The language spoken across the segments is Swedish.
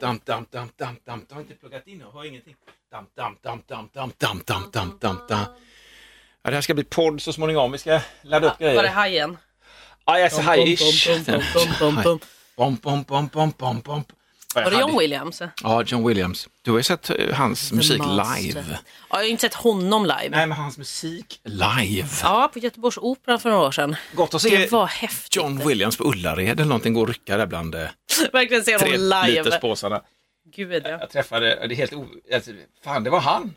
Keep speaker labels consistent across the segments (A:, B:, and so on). A: Du har inte pluggat in och har ingenting. Ja, det här ska bli podd så småningom. Vi ska ladda upp
B: Var det
A: grejer. Ah,
B: hajen?
A: Ja, jag är så
B: Pom, pom, pom,
A: high-ish. Bom, bom, bom, bom,
B: pom, pom, pom, pom.
A: bom, bom.
B: Var det John Williams?
A: Ja, John Williams. Du har ju sett eh, hans musik
B: Master.
A: live.
B: Ja, jag har inte sett honom live.
A: Nej, men hans musik live.
B: Ja, på Göteborgsoperan för några år sedan.
A: Gott att se
B: Det var häftigt.
A: John Williams på Ullared eller någonting går och rycka där bland eh,
B: Verkligen se honom
A: tre
B: live.
A: literspåsarna.
B: Gud, ja.
A: Jag träffade, det är helt o... Alltså, fan, det var han.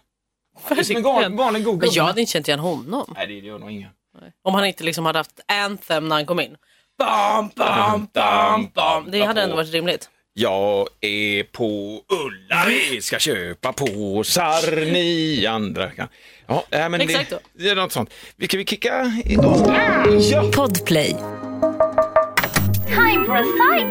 A: Det är som en
B: Verkligen.
A: gal- vanlig god
B: Men jag
A: gubbe.
B: hade inte känt igen honom.
A: Nej, det gör nog ingen.
B: Om han inte liksom hade haft Anthem när han kom in. Bam, bam, bam, bam. Det hade ändå varit rimligt.
A: Jag är på Ullared, ska köpa påsar, ni andra kan... Ja, äh, men
B: Exakt
A: det,
B: då.
A: det är något sånt. Vi kan vi kicka igång? Ah, ja.
B: Podplay.
C: Time for a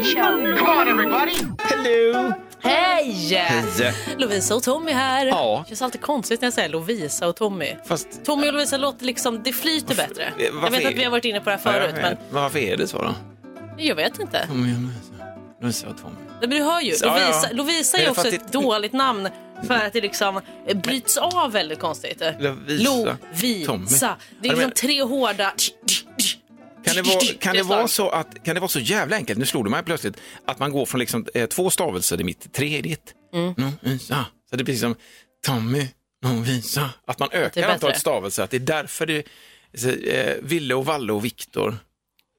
C: sideshow.
A: Hello!
B: Hej!
A: Hej!
B: Lovisa och Tommy här.
A: Ja.
B: Det känns alltid konstigt när jag säger Lovisa och Tommy.
A: Fast...
B: Tommy och Lovisa låter liksom, det flyter bättre.
A: eh, varför
B: Jag vet
A: är-
B: att vi har varit inne på det här förut,
A: Ja, jag
B: men
A: vet. Varför är det så då?
B: jag vet inte.
A: Kom igen nu. Nu sa jag Tommy.
B: Nej, Men du hör ju,
A: Ja, ja.
B: Lovisa, Lovisa
A: Men
B: är
A: jag
B: också
A: fattar
B: ett
A: inte-
B: dåligt namn för att det liksom eh, bryts av väldigt konstigt.
A: Lovisa. Tommy.
B: Lovisa. Det är
A: Ja, men-
B: liksom tre hårda...
A: Kan det, vara, kan,
B: Det
A: det
B: är
A: vara så
B: slag.
A: att, kan det vara så jävla enkelt, nu slog du mig plötsligt, att man går från liksom, eh, två stavelser i mitt, tre i ditt. Mm, Lovisa. Så det blir som Tommy, Lovisa. Att man ökar
B: bättre.
A: antalet stavelser, att det är därför det så, eh, Ville och Valle och Viktor.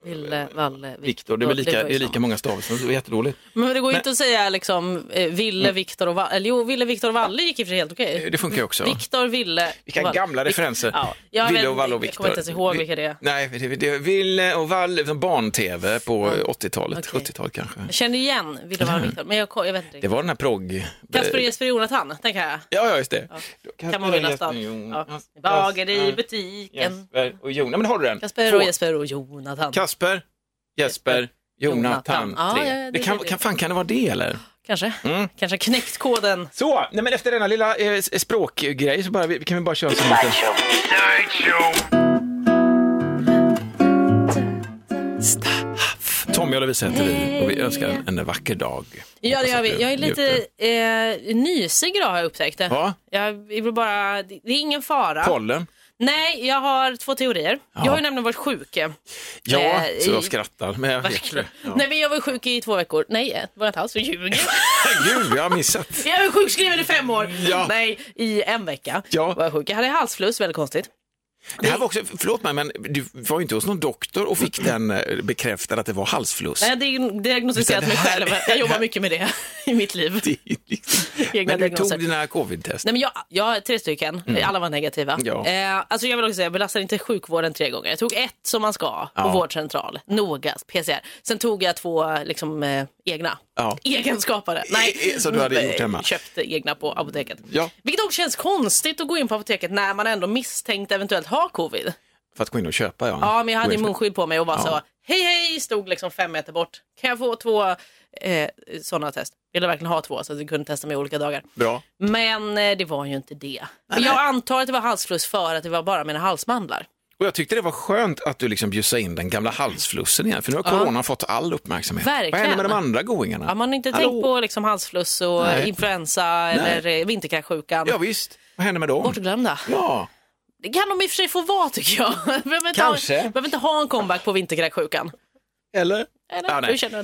B: Ville, Valle,
A: Viktor, det är, väl lika, det är lika många stavelser, det är jättedåligt.
B: Men det går ju inte att säga liksom eh, Ville, Viktor och Valle. Eller jo, Ville, Viktor och Valle gick i och för sig helt okej.
A: Mm. Eh, Det funkar ju också.
B: Viktor, Ville.
A: Vilka
B: och Valle.
A: gamla
B: Vikt-
A: referenser.
B: Ja, jag
A: Ville
B: vet
A: och Valle och
B: inte,
A: Viktor.
B: Jag kommer inte ens ihåg
A: Vi-
B: vilka det är.
A: Nej, det, det, Ville och Valle, som barn-tv på 80-talet,
B: Okej.
A: 70-talet kanske.
B: Jag känner igen Ville och Valle och Viktor, men jag, ko- jag vet inte.
A: Det
B: riktigt.
A: var den här progg...
B: Kasper, Jesper, Jonathan, den kan jag.
A: Ja, ja, just det.
B: Kan man vinna stav. Ja. Bagare i butiken.
A: Jesper och Jon. Nej, men har du den?
B: Kasper
A: Två.
B: och Jesper och Jonathan.
A: Kasper, Jesper,
B: Jonathan.
A: Jonathan.
B: Ja,
A: Tre.
B: ja, ja, det
A: det kan,
B: är det.
A: kan, fan, kan det vara det eller?
B: Kanske.
A: Mm.
B: Kanske knäckt koden.
A: Så, nej men efter denna lilla eh, s- språkgrej så bara, vi- kan vi bara köra så lite. Staff. Tommy och Lovisa heter vi och vi önskar en, en vacker dag.
B: Ja, det
A: Hoppas
B: gör
A: att
B: vi.
A: du
B: Jag är lite
A: njuter.
B: eh, nysig idag har jag upptäckt. det.
A: Ja.
B: Jag vill bara, det det är ingen fara.
A: Pollen.
B: Nej, jag har två teorier.
A: Ja.
B: Jag har ju nämligen varit sjuk. eh,
A: Ja,
B: Eh,
A: så
B: i-
A: jag skrattar. Men jag vet
B: Verkligen.
A: det. Ja.
B: Nej, men jag var sjuk i två veckor. Nej, eh, var det inte alls. Jag ljuger.
A: Gud, jag har missat.
B: jag var sjukskriven i fem år.
A: Ja.
B: Nej, i en vecka
A: Ja.
B: var jag sjuk. Jag hade halsfluss, väldigt konstigt.
A: Det här var också, förlåt mig, men du var ju inte hos någon doktor och fick den eh, bekräftad att det var halsfluss.
B: Nej, Jag har diagnostiserat
A: Utan det
B: mig
A: här-
B: själv. Jag jobbar mycket med det i mitt liv.
A: Det är ju liksom-
B: Egna
A: Men du
B: diagnoser.
A: tog dina covid-test.
B: Nej, men jag, jag har tre stycken, alla var negativa.
A: Mm. Ja.
B: Eh, alltså jag vill också säga, jag belastar inte sjukvården tre gånger. Jag tog ett som man ska på
A: Ja.
B: vårdcentral, noggrant, PCR. Sen tog jag två liksom, eh, egna.
A: Ja.
B: Egenskapade.
A: E-
B: Nej,
A: e- som du hade gjort hemma.
B: Köpte egna på apoteket.
A: Ja.
B: Vilket också känns konstigt att gå in på apoteket när man ändå misstänkt eventuellt ha covid.
A: För att gå in och köpa ja.
B: Ja, men jag hade
A: Gå
B: ju
A: in för-
B: munskydd på mig och bara
A: Ja.
B: sa hej hej, stod liksom fem meter bort. Kan jag få två eh, sådana test? Ville verkligen ha två så att jag kunde testa mig olika dagar.
A: Bra.
B: Men eh, det var ju inte det. jag antar att det var halsfluss för att det var bara mina halsmandlar.
A: Och jag tyckte det var skönt att du liksom bjussade in den gamla halsflussen igen, för nu har corona fått all uppmärksamhet. Vad
B: Verkligen.
A: händer med de andra goingarna?
B: Ja, man har inte
A: Hallå?
B: tänkt på liksom halsfluss och
A: Nej.
B: influensa eller eh, vinterkräksjukan.
A: Ja, visst. Vad händer med dem?
B: Bortglömda.
A: Ja,
B: Det kan de i och för sig få vara tycker jag. behöver inte
A: Kanske.
B: Ha, behöver inte ha en comeback på vinterkräksjukan.
A: eller?
B: Eller?
A: Ja, nej. Mm.
B: Hur känner du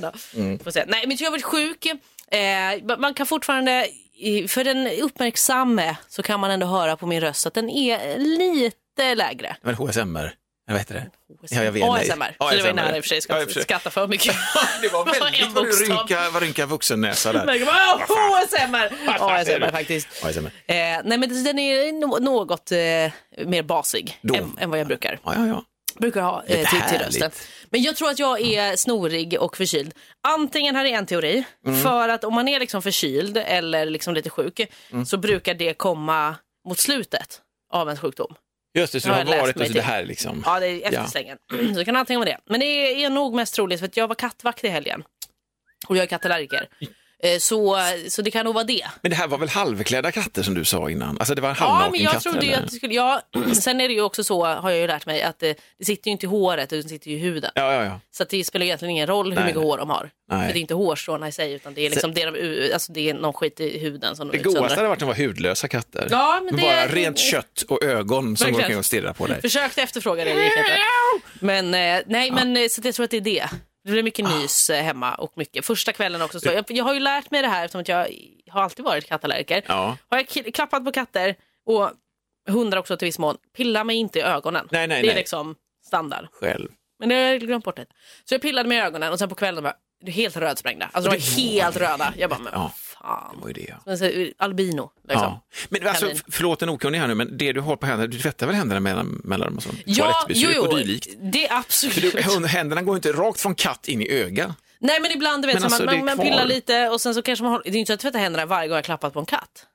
B: då? Får se. Nej, men jag har varit sjuk. Eh, man kan fortfarande, i- för den uppmärksamme så kan man ändå höra på min röst att den är lite lägre.
A: Men HSMR, eller vad heter det? Ja, jag vet. nej.
B: ASMR. Så det var ju nära i och för sig, ska
A: Ja,
B: jag
A: i och för
B: inte
A: sig.
B: skratta för mycket.
A: Det var väldigt
B: En
A: vad du
B: bokstav.
A: rynkar, vad rynkar vuxennäsa där.
B: Verkligen bara, "Åh, ASMR!
A: säger
B: ASMR
A: du?
B: faktiskt.
A: ASMR.
B: Eh, nej men det- den är no- något eh, mer basig
A: Då.
B: än, än vad jag brukar,
A: Ja, ja, ja.
B: brukar ha
A: Lite
B: eh, till, till
A: härligt.
B: rösten. Men jag tror att jag är snorig och förkyld. Antingen här är en teori, för att om man är liksom förkyld eller liksom lite sjuk så brukar det komma mot slutet av ens sjukdom.
A: Just det, så
B: Ja,
A: du har
B: jag läste
A: varit och
B: mig
A: så
B: till.
A: det här liksom.
B: Ja, det är efterslängen. Så det kan antingen vara det. Men det är nog mest troligt för att jag var kattvakt i helgen. Och jag är kattallergiker. Eh, Så, så det kan nog vara det.
A: Men det här var väl halvklädda katter som du sa innan? Alltså det var
B: Ja,
A: halvnaken
B: men jag
A: katt?
B: trodde ju
A: eller?
B: att det skulle... Ja, sen är det ju också så, har jag ju lärt mig, att det, det sitter ju inte i håret utan det sitter ju i huden.
A: Ja, ja, ja.
B: Så att det spelar egentligen ingen roll hur
A: Nej,
B: mycket
A: nej.
B: hår de har.
A: Nej.
B: För det är inte hårstråna i sig utan det är, liksom det, de, alltså det är någon skit i huden som de
A: Det godaste hade varit om det var hudlösa katter.
B: Ja, men det-
A: Bara rent kött och ögon som går
B: Verkligen.
A: omkring och stirrar på dig.
B: Försökte efterfråga det, det gick inte. Men eh, nej, men eh, så att jag tror att det är det. Det blev mycket nys eh, hemma och mycket. Första kvällen också. Så. Jag, jag har ju lärt mig det här eftersom att jag har alltid varit kattallergiker.
A: Ja.
B: Har jag ki- klappat på katter och hundar också till viss mån, pilla mig inte i ögonen.
A: Nej, nej,
B: det är
A: nej.
B: liksom standard.
A: Själv.
B: Men det har jag glömt bort det. Så jag pillade mig i ögonen och sen på kvällen bara, du är helt rödsprängda. Alltså de var helt röda. Jag bara, men
A: Ja.
B: vad fan.
A: Det var ju det ja.
B: Men så, albino liksom.
A: ja. Men alltså,
B: Kanin.
A: förlåt en okunnig här nu, men det du har på händerna, du tvättar väl händerna mellan, mellan och sånt? Toalettbesök och dylikt.
B: det är
A: För
B: absolut.
A: du, händerna går ju inte rakt från katt in i öga.
B: Nej men ibland du vet,
A: Men
B: så
A: alltså,
B: man,
A: det är
B: man, man
A: kvar.
B: pillar lite och sen så kanske man har, det är ju inte så att jag tvättar händerna varje gång jag har klappat på en katt.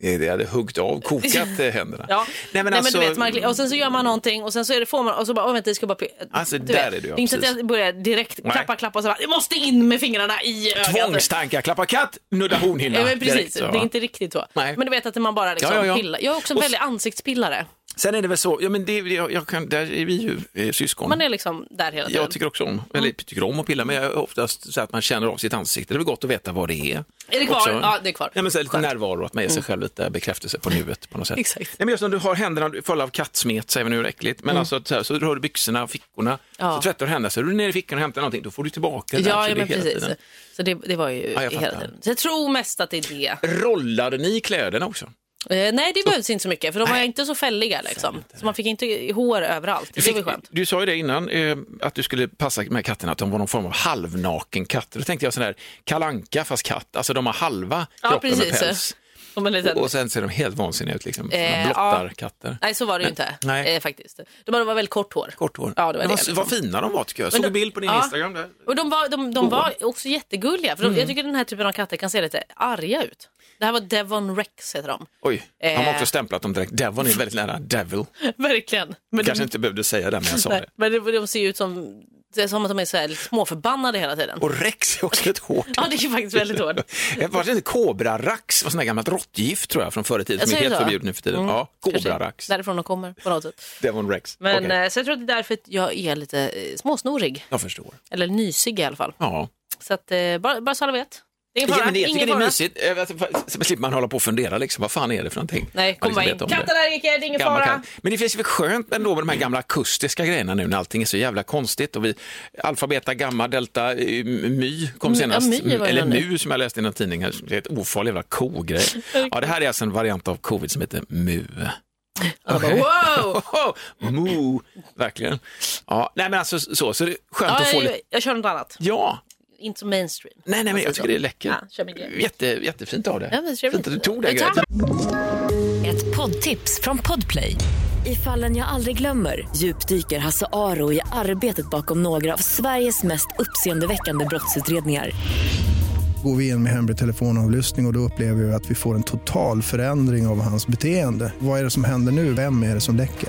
A: Det det hade huggit av, kokat eh, händerna.
B: Ja.
A: Nej, men alltså-
B: du vet, man, och sen så gör man någonting och sen så är det, får man och så bara, åh vänta jag ska bara... pi-"
A: Alltså,
B: du
A: där är du, ja,
B: det är inte så att
A: precis.
B: jag börjar direkt
A: Nej.
B: klappa, klappa och så bara, jag måste in med fingrarna i ögat.
A: Tvångstankar, klappa katt, nudda hornhinna.
B: Ja, men precis,
A: direkt, så,
B: det
A: va?
B: är inte riktigt så.
A: Nej.
B: Men du vet att man bara liksom
A: Ja, ja, ja.
B: pillar. Jag är också en
A: Och-
B: väldig ansiktspillare.
A: Sen är det väl så, ja men det, jag, jag kan, där är vi ju eh, syskon.
B: Man är liksom där hela tiden.
A: Jag tycker också om, eller tycker om att pilla, men jag är oftast så att man känner av sitt ansikte. Det är väl gott att veta vad det är.
B: Är det kvar?
A: Också.
B: Ja, det är kvar.
A: Ja, men så här lite närvaro, att man ger sig själv lite bekräftelse på nuet på något sätt.
B: Mm. Exakt. Mm.
A: Nej, men just om du har händerna fulla av kattsmet, säger vi nu hur äckligt, men alltså så, här, så rör du byxorna och fickorna,
B: Ja.
A: så tvättar du händerna, så är du ner i fickorna och hämtar någonting, då får du tillbaka det där,
B: ja,
A: så
B: ja,
A: det är
B: men
A: hela
B: precis.
A: tiden.
B: Så det, det var ju
A: Ja, jag
B: hela
A: fattar.
B: tiden. Så jag tror mest att det är det.
A: Rollade ni kläderna också?
B: Eh, nej, det behövs inte så mycket för de var inte så fälliga liksom. Så man fick inte hår överallt. Det var ju skönt.
A: du sa ju det innan, eh, att du skulle passa med katterna, att de var någon form av halvnaken katt. Då tänkte jag sån här kalanka fast katt, alltså de har halva
B: Ja,
A: kroppen med
B: precis.
A: päls.
B: Som en liten...
A: Och sen ser de helt vansinniga ut, liksom.
B: Eh,
A: man blottar
B: ja.
A: katter.
B: Nej, så var det ju inte
A: Nej.
B: Eh, faktiskt. De var, de var väldigt kort hår.
A: Kort hår.
B: Ja, det var
A: Men
B: det,
A: vad,
B: liksom.
A: vad fina de var tycker jag. Såg
B: de-
A: en bild på din
B: ja.
A: Instagram där.
B: Och de var, de, de var också jättegulliga. För de,
A: Mm.
B: Jag tycker den här typen av katter kan se lite arga ut. Det här var Devon Rex heter de.
A: Oj,
B: Eh.
A: har man också stämplat dem direkt. Devon är väldigt nära devil.
B: Verkligen. Men
A: Kanske inte behövde säga det, men jag sa
B: Nej,
A: det.
B: men de, de ser ju ut som, det är som att de är så här lite småförbannade hela tiden.
A: Och Rex är också ett hårt Eh,
B: Ja, det är ju faktiskt väldigt hårt.
A: Var det inte kobrarax? var sånt där gammalt råttgift tror jag från förr i tiden
B: Alltså, Jag
A: som är
B: säger
A: helt
B: så.
A: förbjudet nu för tiden.
B: Mm.
A: Ja,
B: Kanske
A: kobrarax.
B: Därifrån de kommer på något sätt.
A: Devon Rex.
B: Men,
A: Okej,
B: eh, Så jag tror att det är därför att jag är lite eh, småsnorig.
A: Jag förstår.
B: Eller nysig i alla fall.
A: Ja.
B: Så att, eh, bara, bara så alla vet. Det är ingen
A: Ja,
B: fara.
A: men det, jag tycker
B: ingen
A: det är
B: fara.
A: mysigt. Eh, alltså, fa- Så slipper man hålla på och fundera, liksom, vad fan är det för någonting?
B: Nej,
A: Man
B: kom bara in.
A: vet liksom, om det.
B: Kattallergiker, det är ingen
A: Gammal
B: fara.
A: katt. Men det finns väl skönt ändå med de här gamla akustiska grejerna nu när allting är så jävla konstigt. Och vi, alfa, beta, gamma, delta, eh, my kom
B: Mm,
A: senast.
B: ja, my var det
A: Eller
B: nu.
A: mu som jag läste i en tidning. här. Det är ett ofarlig jävla kogrej. Ja, det här är alltså en variant av covid som heter mu.
B: Alla bara, wow!
A: mu, verkligen. Ja, nej men alltså så, så det är skönt
B: Ja,
A: att få
B: jag,
A: lite...
B: jag, kör något annat.
A: Ja,
B: Inte så mainstream.
A: nej, nej men jag tycker det är läckert.
B: Ja, kör min grej.
A: Jätte, jättefint av dig.
B: Ja, men trevligt.
A: Fint att du tog det
B: Tack.
A: grejen.
C: Ett poddtips från Podplay. I fallen jag aldrig glömmer djupdyker Hasse Aro i arbetet bakom några av Sveriges mest uppseendeväckande brottsutredningar.
D: Går vi in med hemlig telefonavlyssning och, och då upplever vi att vi får en total förändring av hans beteende. Vad är det som händer nu? Vem är det som läcker?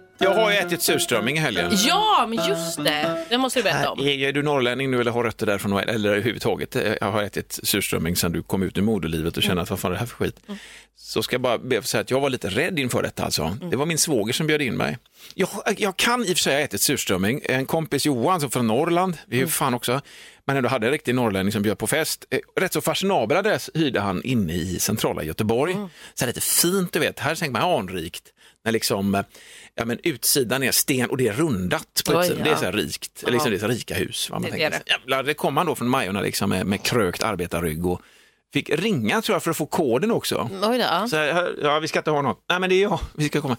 A: Jag har ju ätit surströmming i helgen.
B: Ja, men just det. Det måste du berätta om.
A: Är, är du norrlänning nu eller har rötter därifrån eller överhuvudtaget eh, jag har ätit surströmming sedan du kom ut ur moderlivet och känner att vad fan är det här för skit?
B: Mm.
A: Så ska jag bara be att få säga att jag var lite rädd inför detta alltså.
B: Mm.
A: Det var min svåger som bjöd in mig. Jag, eh, jag kan i och för sig ha ätit surströmming. En kompis Johan som från Norrland, vi är
B: Mm.
A: ju fan också, men ändå hade en riktig norrlänning som bjöd på fest. Eh, Rätt så fashionabel adress hyrde han inne i centrala Göteborg.
B: Mm.
A: Så här lite fint, du vet, här tänker man anrikt. När liksom, eh, ja, men utsidan är sten och det är rundat på
B: Oj,
A: utsidan. Det är
B: ja.
A: så här rikt, eller liksom det är så här rika hus. Va? Man
B: Det är
A: tänker,
B: det.
A: så Jävlar, det kom han då från Majorna liksom, med, med krökt arbetarrygg och fick ringa tror jag för att få koden också.
B: Oj då. ja.
A: Så här, ja, vi ska inte ha något. Nej, men det är jag. Vi ska komma.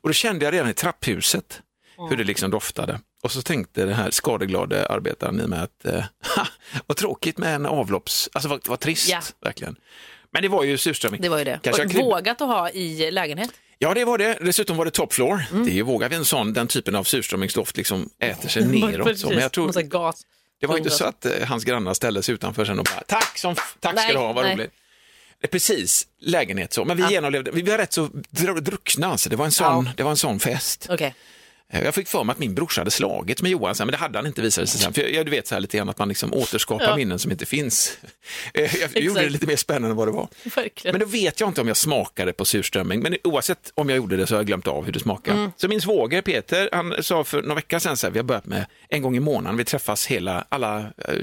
A: Och då kände jag redan i trapphuset
B: Mm.
A: hur det liksom doftade. Och så tänkte den här skadeglade arbetaren i mig att eh, ha, vad tråkigt med en avlopps... Alltså vad, vad trist,
B: Ja.
A: verkligen. Men det var ju surströmming.
B: Det var ju det.
A: Kanske
B: Och
A: jag kryp-
B: Vågat att ha i lägenhet.
A: Ja, det var det. Dessutom var det top floor.
B: Mm.
A: Det är ju vågar vi en sån, den typen av surströmmingsdoft liksom äter sig neråt. så. Men jag tror,
B: Massa gas.
A: Det var inte så att eh, hans grannar ställde sig utanför sen och bara tack, som, f- tack ska
B: Nej,
A: du ha, vad
B: nej.
A: roligt. Eh, Precis, lägenhet så. Men vi genomlevde, vi var rätt så dr- druckna alltså. Det var en sån, det var en sån fest.
B: Okej.
A: Eh, Jag fick för mig att min brorsa hade slagits med Johan, sen, men det hade han inte visade sig sen. För jag, jag, du vet så här lite grann att man liksom återskapar
B: Ja.
A: minnen som inte finns. Eh, Jag gjorde det lite mer spännande än vad det var.
B: Verkligen.
A: Men då vet jag inte om jag smakade på surströmming, men oavsett om jag gjorde det så har jag glömt av hur det smakar.
B: Mm.
A: Så min svåger Peter, han sa för några veckor sedan så här, vi har börjat med en gång i månaden, vi träffas hela, alla eh,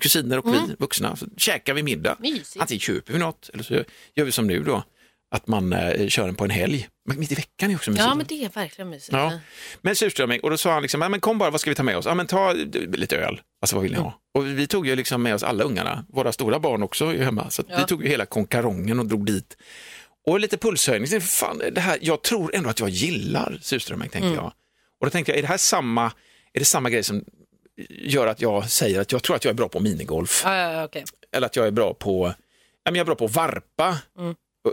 A: kusiner och vi vuxna, så käkar vi middag.
B: Mm. Mysigt.
A: Antingen köper vi något eller så gör vi som nu då, att man eh, kör den på en helg. Men mitt i veckan är också mysigt.
B: Ja, men det är verkligen mysigt.
A: Ja. Men surströmming, och då sa han liksom, "Ja, men kom bara, vad ska vi ta med oss? Ja, men ta du, lite öl, alltså vad vill ni ha? Och vi tog ju liksom med oss alla ungarna, våra stora barn också är ju hemma, så att vi tog ju hela konkarongen och drog dit. Och lite pulshöjning, Så, fan, det här, jag tror ändå att jag gillar surströmming, tänkte jag. Och då tänkte jag, är det här samma, är det samma grej som gör att jag säger att jag tror att jag är bra på minigolf?
B: Ja, ja, ja, okej.
A: eller att jag är bra på, ja, men jag är bra på att varpa.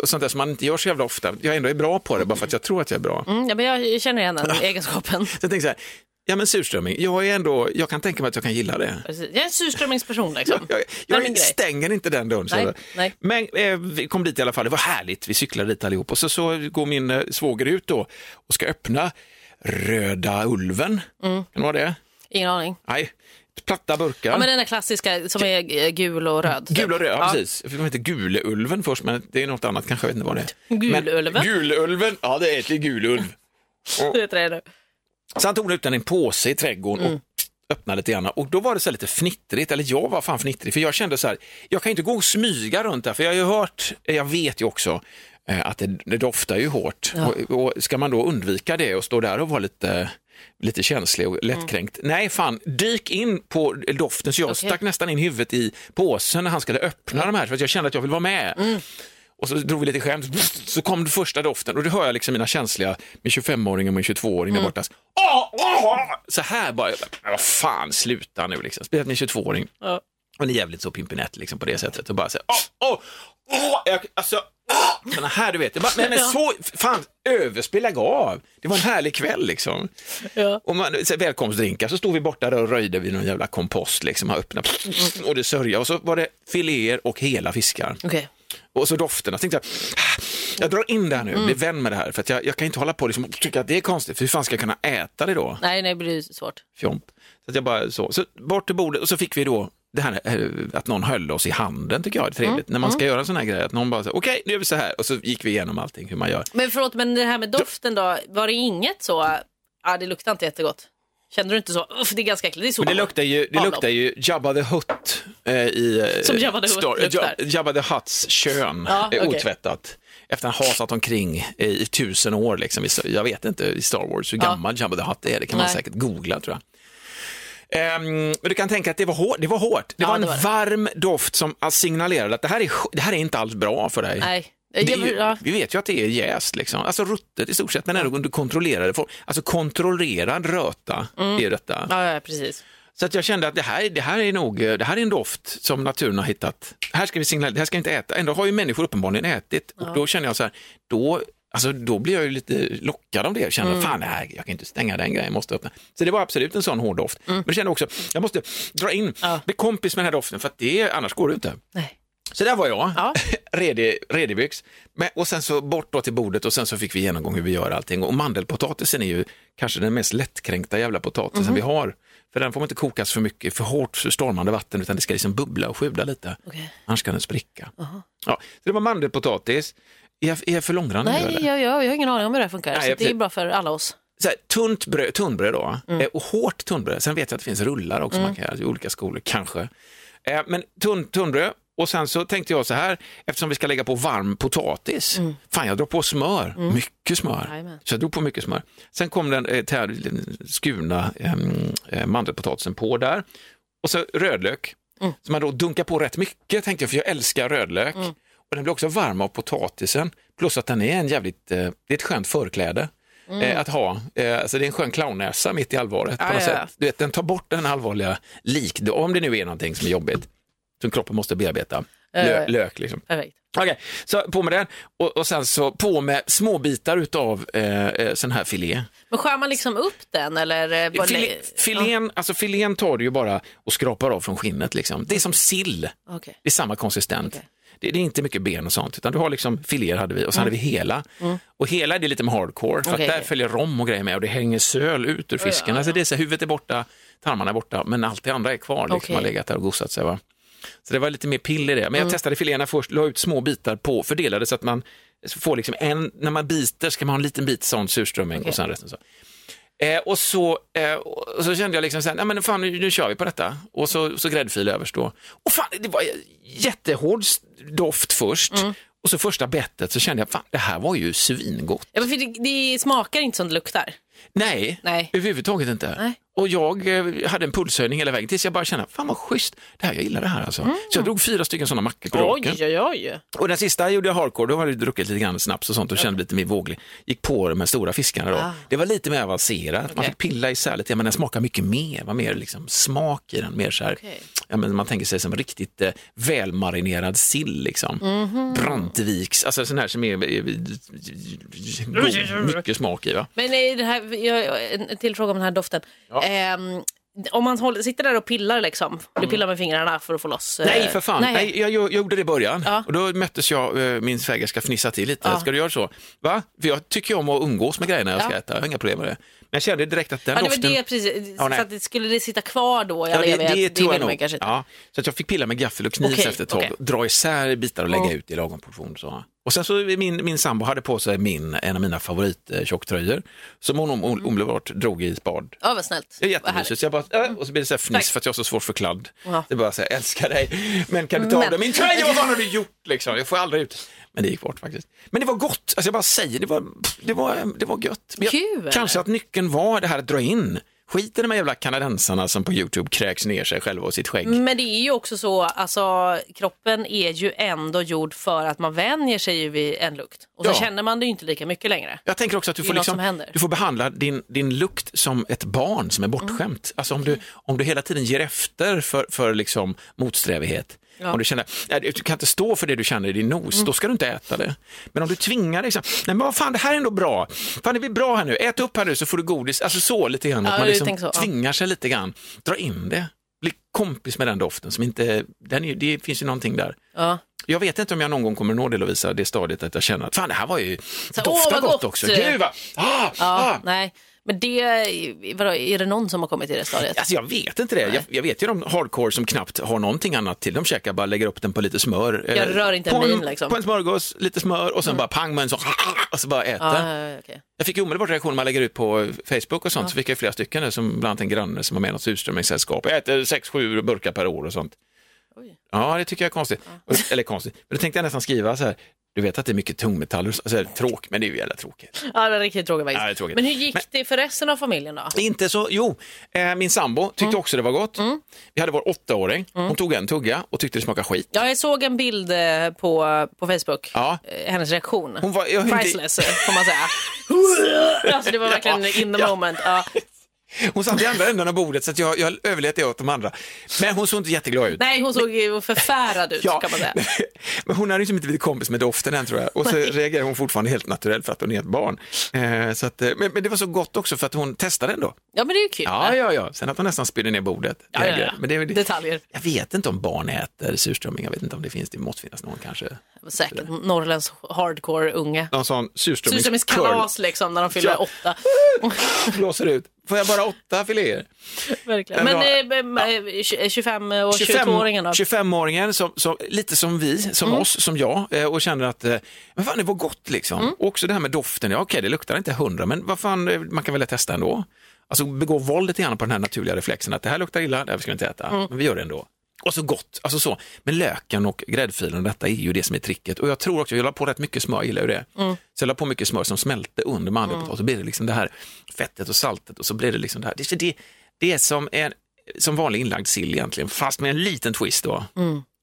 A: Och sånt där som man inte gör så jävla ofta. Jag ändå är bra på det bara för att jag tror att jag är bra.
B: Mm, ja, men jag känner igen den egenskapen.
A: Så jag tänkte så här, ja men surströmming, jag är ändå, jag kan tänka mig att jag kan gilla det.
B: Precis. Jag är en surströmmingsperson liksom.
A: Jag,
B: Det är
A: jag
B: min grej.
A: stänger inte den dörren. så
B: Nej,
A: där.
B: nej.
A: Men eh, vi kom dit i alla fall, det var härligt, vi cyklade dit allihop och så, så går min eh, svåger ut då och ska öppna Röda Ulven,
B: Mm.
A: kan det vara det?
B: Ingen aning.
A: Nej, platta burkar.
B: Ja, men den där klassiska som är eh, gul och röd. typ.
A: Gul och röd, ja, precis. De heter Guleulven först, men det är något annat kanske, jag vet inte vad det är.
B: Gululven.
A: Men, gululven, ja det heter ju gululv.
B: Du vet det nu.
A: Så han tog ut den i en påse i trädgården och öppnade lite grann. Och då var det så här lite fnittrigt, eller jag var fan fnittrig, för jag kände så här, jag kan ju inte gå och smyga runt där, för jag har ju hört, jag vet ju också, eh, att det, det doftar ju hårt. Och, och ska man då undvika det och stå där och vara lite lite känslig och lättkränkt. Nej, fan, dyk in på doften. Så jag stack nästan in huvudet i påsen när han skulle öppna de här, för att jag kände att jag vill vara med. Och så drog vi lite skämt, så kom den första doften och då hör jag liksom mina känsliga, min 25-åring och min 22-åring där
B: Mm.
A: borta. Åh, åh, åh! Så här bara, jag bara, "Men vad fan, sluta nu liksom. Speciellt min 22-åring.
B: Ja.
A: Hon är jävligt så pimpinett liksom på det sättet. Och bara så här, åh, åh, åh, jag, alltså, åh! Såna här du vet. Jag bara, men, men så, fan, överspel, lägg av. Det var en härlig kväll liksom.
B: Ja.
A: Och man, så här, välkomstdrinkar, så stod vi borta där och röjde vid någon jävla kompost liksom, och öppnade, och det sörja. Och så var det filéer och hela fiskar.
B: Okej.
A: Och så dofterna, så tänkte jag, "Ah, jag drar in det här nu, blir vän med det här, för att jag, jag kan inte hålla på liksom, och tycka att det är konstigt, för hur fan ska jag kunna äta det då?
B: Nej, nej, det blir ju svårt.
A: Fjomp. Så att jag bara så, så bort till bordet och så fick vi då det här eh, att någon höll oss i handen tycker jag är trevligt, när man ska göra en sån här grej, att någon bara säger okej, nu gör vi så här, och så gick vi igenom allting hur man gör.
B: Men förlåt, men det här med doften då. Var det inget så, ja det luktar inte jättegott. Kände du inte så, uff det är ganska äckligt. Det, är så
A: Men det luktar ju, det
B: Pavlov.
A: luktar ju Jabba the Hutt eh, i eh,
B: Som Jabba the Hutt
A: story-
B: luktar.
A: Ja- Jabba the Hutts kön
B: Ja,
A: är
B: okej.
A: otvättat. Efter att han hasat omkring eh, i tusen år, liksom, i, jag vet inte i Star Wars hur gammal Jabba the Hutt är, det kan man
B: Nej.
A: säkert googla tror jag. Ehm, men du kan tänka att det var hårt, det var, hårt. Det
B: Ja,
A: var en
B: det var det.
A: varm doft som signalerade att det här, är, det här är inte alls bra för dig.
B: Nej.
A: Det är
B: Jag-
A: ju,
B: ja.
A: Vi vet ju att det är jäst, liksom. alltså ruttet i stort sett, men ändå under kontrollerade form. Alltså kontrollerad röta
B: Mm.
A: är detta.
B: Ja, ja, precis.
A: Så att jag kände att det här, det här är nog, eh, det här är en doft som naturen har hittat. Här ska vi signalera, det här ska vi inte äta. Ändå har ju människor uppenbarligen ätit och då känner jag så här, då, alltså, då blir jag ju lite lockad av det. Jag känner, fan det här, jag kan inte stänga den grejen, jag måste öppna. Så det var absolut en sån hård doft. Men jag kände också, jag måste dra in, bli kompis med den här doften för att det, annars går det inte.
B: Nej.
A: Så där var jag,
B: Ja.
A: redig, redigbyx. Men, och sen så bort då till bordet och sen så fick vi genomgång hur vi gör allting. Och mandelpotatisen är ju kanske den mest lättkränkta jävla potatisen
B: Mhm.
A: vi har. För den får man inte kokas för mycket, för hårt, för stormande vatten, utan det ska liksom bubbla och sjuda lite.
B: Okej.
A: Annars kan den spricka. Ja, så det var mandelpotatis. Är jag, är jag för långrandig nu,
B: Nej,
A: eller?
B: jag, jag, jag har ingen aning om hur det här funkar.
A: Nej,
B: så
A: jag-
B: det är bra för alla oss.
A: så här, tunt bröd, tunnbröd då, eh, och hårt tunnbröd. Sen vet jag att det finns rullar också man kan göra i olika skolor, kanske. Eh, men tunn, tunnbröd, och sen så tänkte jag så här, eftersom vi ska lägga på varm potatis, fan jag drar på smör, mycket smör.
B: Jajamän.
A: Så jag drog på mycket smör. Sen kom den eh, tär, skurna ehm, eh, mandelpotatisen på där, och så rödlök,
B: Mm.
A: som man då dunkar på rätt mycket tänkte jag, för jag älskar rödlök. Och den blir också varm av potatisen, plus att den är en jävligt, eh, det är ett skönt förkläde. eh, Att ha, Eh, alltså det är en skön clownnäsa mitt i allvaret. På
B: Mm. Ja,
A: något
B: ja, ja.
A: sätt. Du vet, den tar bort den allvarliga lik, om det nu är någonting som är jobbigt, som kroppen måste bearbeta. Lö,
B: Eh.
A: lök liksom.
B: Perfekt.
A: Okej, så på med den och, och sen så på med små bitar utav eh, eh, sån här filé.
B: Men skär man liksom upp den eller? eh, bara
A: Filé,
B: lä-
A: filén, alltså filén tar du ju bara och skrapar av från skinnet. Liksom. Det är som sill,
B: Ja, okej.
A: det är samma konsistent.
B: Okej.
A: Det, det är inte mycket ben och sånt, utan du har liksom filéer hade vi och sen hade vi hela. Och hela är det lite med hardcore, för
B: Mm. Okej,
A: att där
B: okej.
A: följer rom och grejer med och det hänger söl ut ur fisken. Alltså det är så, här, huvudet är borta, tarmarna är borta, men allt det andra är kvar, liksom,
B: Okej.
A: har legat där och gosat sig. Va? Så det var lite mer pill i det. Men jag testade filéerna först, la ut små bitar på, fördelade så att man får liksom en, när man biter ska man ha en liten bit sån surströmming och sen resten så. Eh, och, så eh, och så kände jag liksom så här, nej men fan nu, nu kör vi på detta. Och så, så gräddfil överst då. Och fan, det var jättehård s- doft först. Och så första bettet så kände jag, fan det här var ju svingott.
B: Ja, men för det, det smakar inte som det luktar.
A: Nej,
B: Nej.
A: överhuvudtaget inte.
B: Nej.
A: Och jag eh, hade en pulshöjning hela vägen tills jag bara kände, fan vad schysst, det här, jag gillar det här alltså. Så jag drog fyra stycken sådana mackor på
B: Mm. Oj,
A: raken.
B: oj, oj.
A: Och den sista gjorde jag hardcore, då hade jag druckit lite grann snaps och sånt och kände mig lite mer våglig. Gick på de här stora fiskarna då. Det var lite mer avancerat, man
B: Ah. Okej.
A: fick pilla isär lite, men den smakar mycket mer, det var mer liksom smak i den, mer så här,
B: Okej.
A: ja, men man tänker sig som riktigt eh, välmarinerad sill liksom.
B: Mhm.
A: Branteviks, alltså sån här som är eh, god, mycket smak i va.
B: Men är det här, jag, jag- en till fråga om den här doften. Ehm, om man håller, sitter där och pillar liksom, du pillar med fingrarna för att få loss? eh,
A: Mm. Nej, för fan. Nej. jag, jag gjorde det i början.
B: Ja.
A: Och då möttes jag, eh, min svägerska fnissa till lite.
B: Ja.
A: Ska du göra så? Va? För jag tycker om att umgås med grejerna jag ska
B: Ja.
A: äta. Jag har inga problem med det. Men jag kände direkt att den
B: Ja, det var
A: doften...
B: det precis.
A: Ja, nej.
B: så att det skulle det sitta kvar då i all
A: Ja,
B: evighet?
A: det, det tror jag
B: vill man
A: nog.
B: kanske inte.
A: Ja, så att jag fick pilla med gaffel och kniv
B: Okej,
A: efter ett tag,
B: okej.
A: dra isär bitar och lägga
B: Ja.
A: ut i lagom portion. Så. Och sen så min, min sambo hade på sig min, en av mina favorittjocktröjor som hon om- omedelbart drog i spad.
B: Ja, vad snällt.
A: Det är
B: Vad härligt.
A: jättemysigt. Så jag bara, äh, och så blir det så här fniss
B: Tack.
A: för att jag har så svårt för kladd.
B: Ja.
A: Det är bara så här, jag älskar dig, men kan du ta
B: Men-
A: av dig min tröja? Vad fan har du gjort liksom? Jag får aldrig ut. Men det gick bort faktiskt. Men det var gott, alltså jag bara säger, det var, det var, det var gött. Men jag,
B: Kul.
A: Kanske att nyckeln var det här att dra in. Skit i de här jävla kanadensarna som på YouTube kräks ner sig själva och sitt skägg.
B: Men det är ju också så, alltså kroppen är ju ändå gjord för att man vänjer sig ju vid en lukt. Och så
A: Ja.
B: känner man det ju inte lika mycket längre.
A: Jag tänker också att du
B: Det är
A: får,
B: något
A: liksom,
B: som händer. Mm.
A: du får behandla din, din lukt som ett barn som är bortskämt. Alltså om du, om du hela tiden ger efter för, för liksom motsträvighet. Om du känner, nej, du kan inte stå för det du känner i din nos,
B: Mm.
A: då ska du inte äta det. Men om du tvingar dig, liksom, nej men vad fan det här är ändå bra, fan det blir bra här nu, ät upp här nu så får du godis, alltså så lite grann.
B: Ja,
A: att man
B: jag
A: liksom
B: tänker så, ja.
A: tvingar sig lite grann, dra in det, bli kompis med den doften som inte, den är, ju- det finns ju någonting där.
B: Ja.
A: Jag vet inte om jag någon gång kommer nå det Lovisa, det stadiet att jag känner att fan det här var ju,
B: här, åh,
A: doftar
B: vad
A: gott,
B: gott.
A: också. Gud vad, ah,
B: Ja,
A: ah.
B: nej. Men det, vadå, är det någon som har kommit till det stadiet?
A: Alltså jag vet inte det. Jag, jag vet ju de hardcore som knappt har någonting annat till. De käkar bara, lägger upp den på lite smör. eh,
B: rör inte en
A: på
B: min, liksom. Mm.
A: På en smörgås, lite smör och sen bara pang med en sån och så bara äter.
B: Ja, ja, ja, okej.
A: Jag fick ju omedelbart reaktioner man lägger ut på Facebook och sånt. Så fick jag flera stycken där, som bland annat en granne som var med i något surströmmingssällskap. Jag äter sex, sju burkar per år och sånt.
B: Oj.
A: Ja, det tycker jag är konstigt. Och- Eller konstigt. Men då tänkte jag nästan skriva så här. Du vet att det är mycket tungmetaller, och så- så här, tråk, men det är ju jävla tråkigt.
B: Ja, det var riktigt tråkigt
A: Ja, det är tråkigt.
B: faktiskt. Men hur gick det för resten av familjen då?
A: Inte så, jo, eh, min sambo tyckte
B: Mm.
A: också det var gott. Vi hade vår åttaåring, hon tog en tugga och tyckte det smakade skit.
B: Ja, jag såg en bild eh, på, på Facebook,
A: Ja.
B: Eh, hennes reaktion.
A: Hon var- jag har inte-
B: Priceless eh, får man säga. alltså, det var verkligen in the moment. Ja.
A: Hon satt i andra änden av bordet så att jag, jag överlät det åt de andra. Men hon såg inte jätteglad ut.
B: Nej, hon såg ju förfärad ut kan man säga.
A: Men hon hade ju liksom inte blivit kompis med doften än tror jag. Och så reagerar hon fortfarande helt naturellt för att hon är ett barn. Eh, så att, eh, men, men det var så gott också för att hon testade ändå.
B: Ja, men det är ju kul.
A: Ja, ja, ja. Sen att hon nästan spydde ner bordet. det
B: Ja,
A: är
B: ja, ja.
A: grejer. Men det, är-
B: Detaljer.
A: Jag vet inte om barn äter surströmming. Jag vet inte om det finns. Det måste finnas någon kanske.
B: Säkert norrländsk hardcore-unge.
A: Någon sån
B: Surströmmings
A: surströmmingscurl
B: Typ kalas liksom när de fyller
A: Ja.
B: åtta.
A: blåser ut. Får jag bara åtta filéer?
B: Verkligen.
A: Men
B: Men,
A: då-
B: eh, eh, tj- 25 och
A: 25
B: 22-åringen då? Mm.
A: 25-åringen, som, som, lite som vi, som oss, som jag eh, och känner att eh, men fan, det var gott liksom.
B: Mm.
A: Och också det här med doften, ja okej det luktar inte hundra men vad fan, eh, man kan väl testa ändå. Alltså begå våld lite grann på den här naturliga reflexen att det här luktar illa, det här ska vi inte äta,
B: Mm.
A: men vi gör det ändå. Och så gott, alltså så. Men löken och gräddfilen och detta är ju det som är tricket. Och jag tror också, jag la på rätt mycket smör, jag gillar ju det.
B: Mm.
A: Så jag la på mycket smör som smälte under med andra potatis. Så blir det liksom det här fettet och saltet och så blir det liksom det här. Det, det, det är som en, som vanlig inlagd sill egentligen, fast med en liten twist då.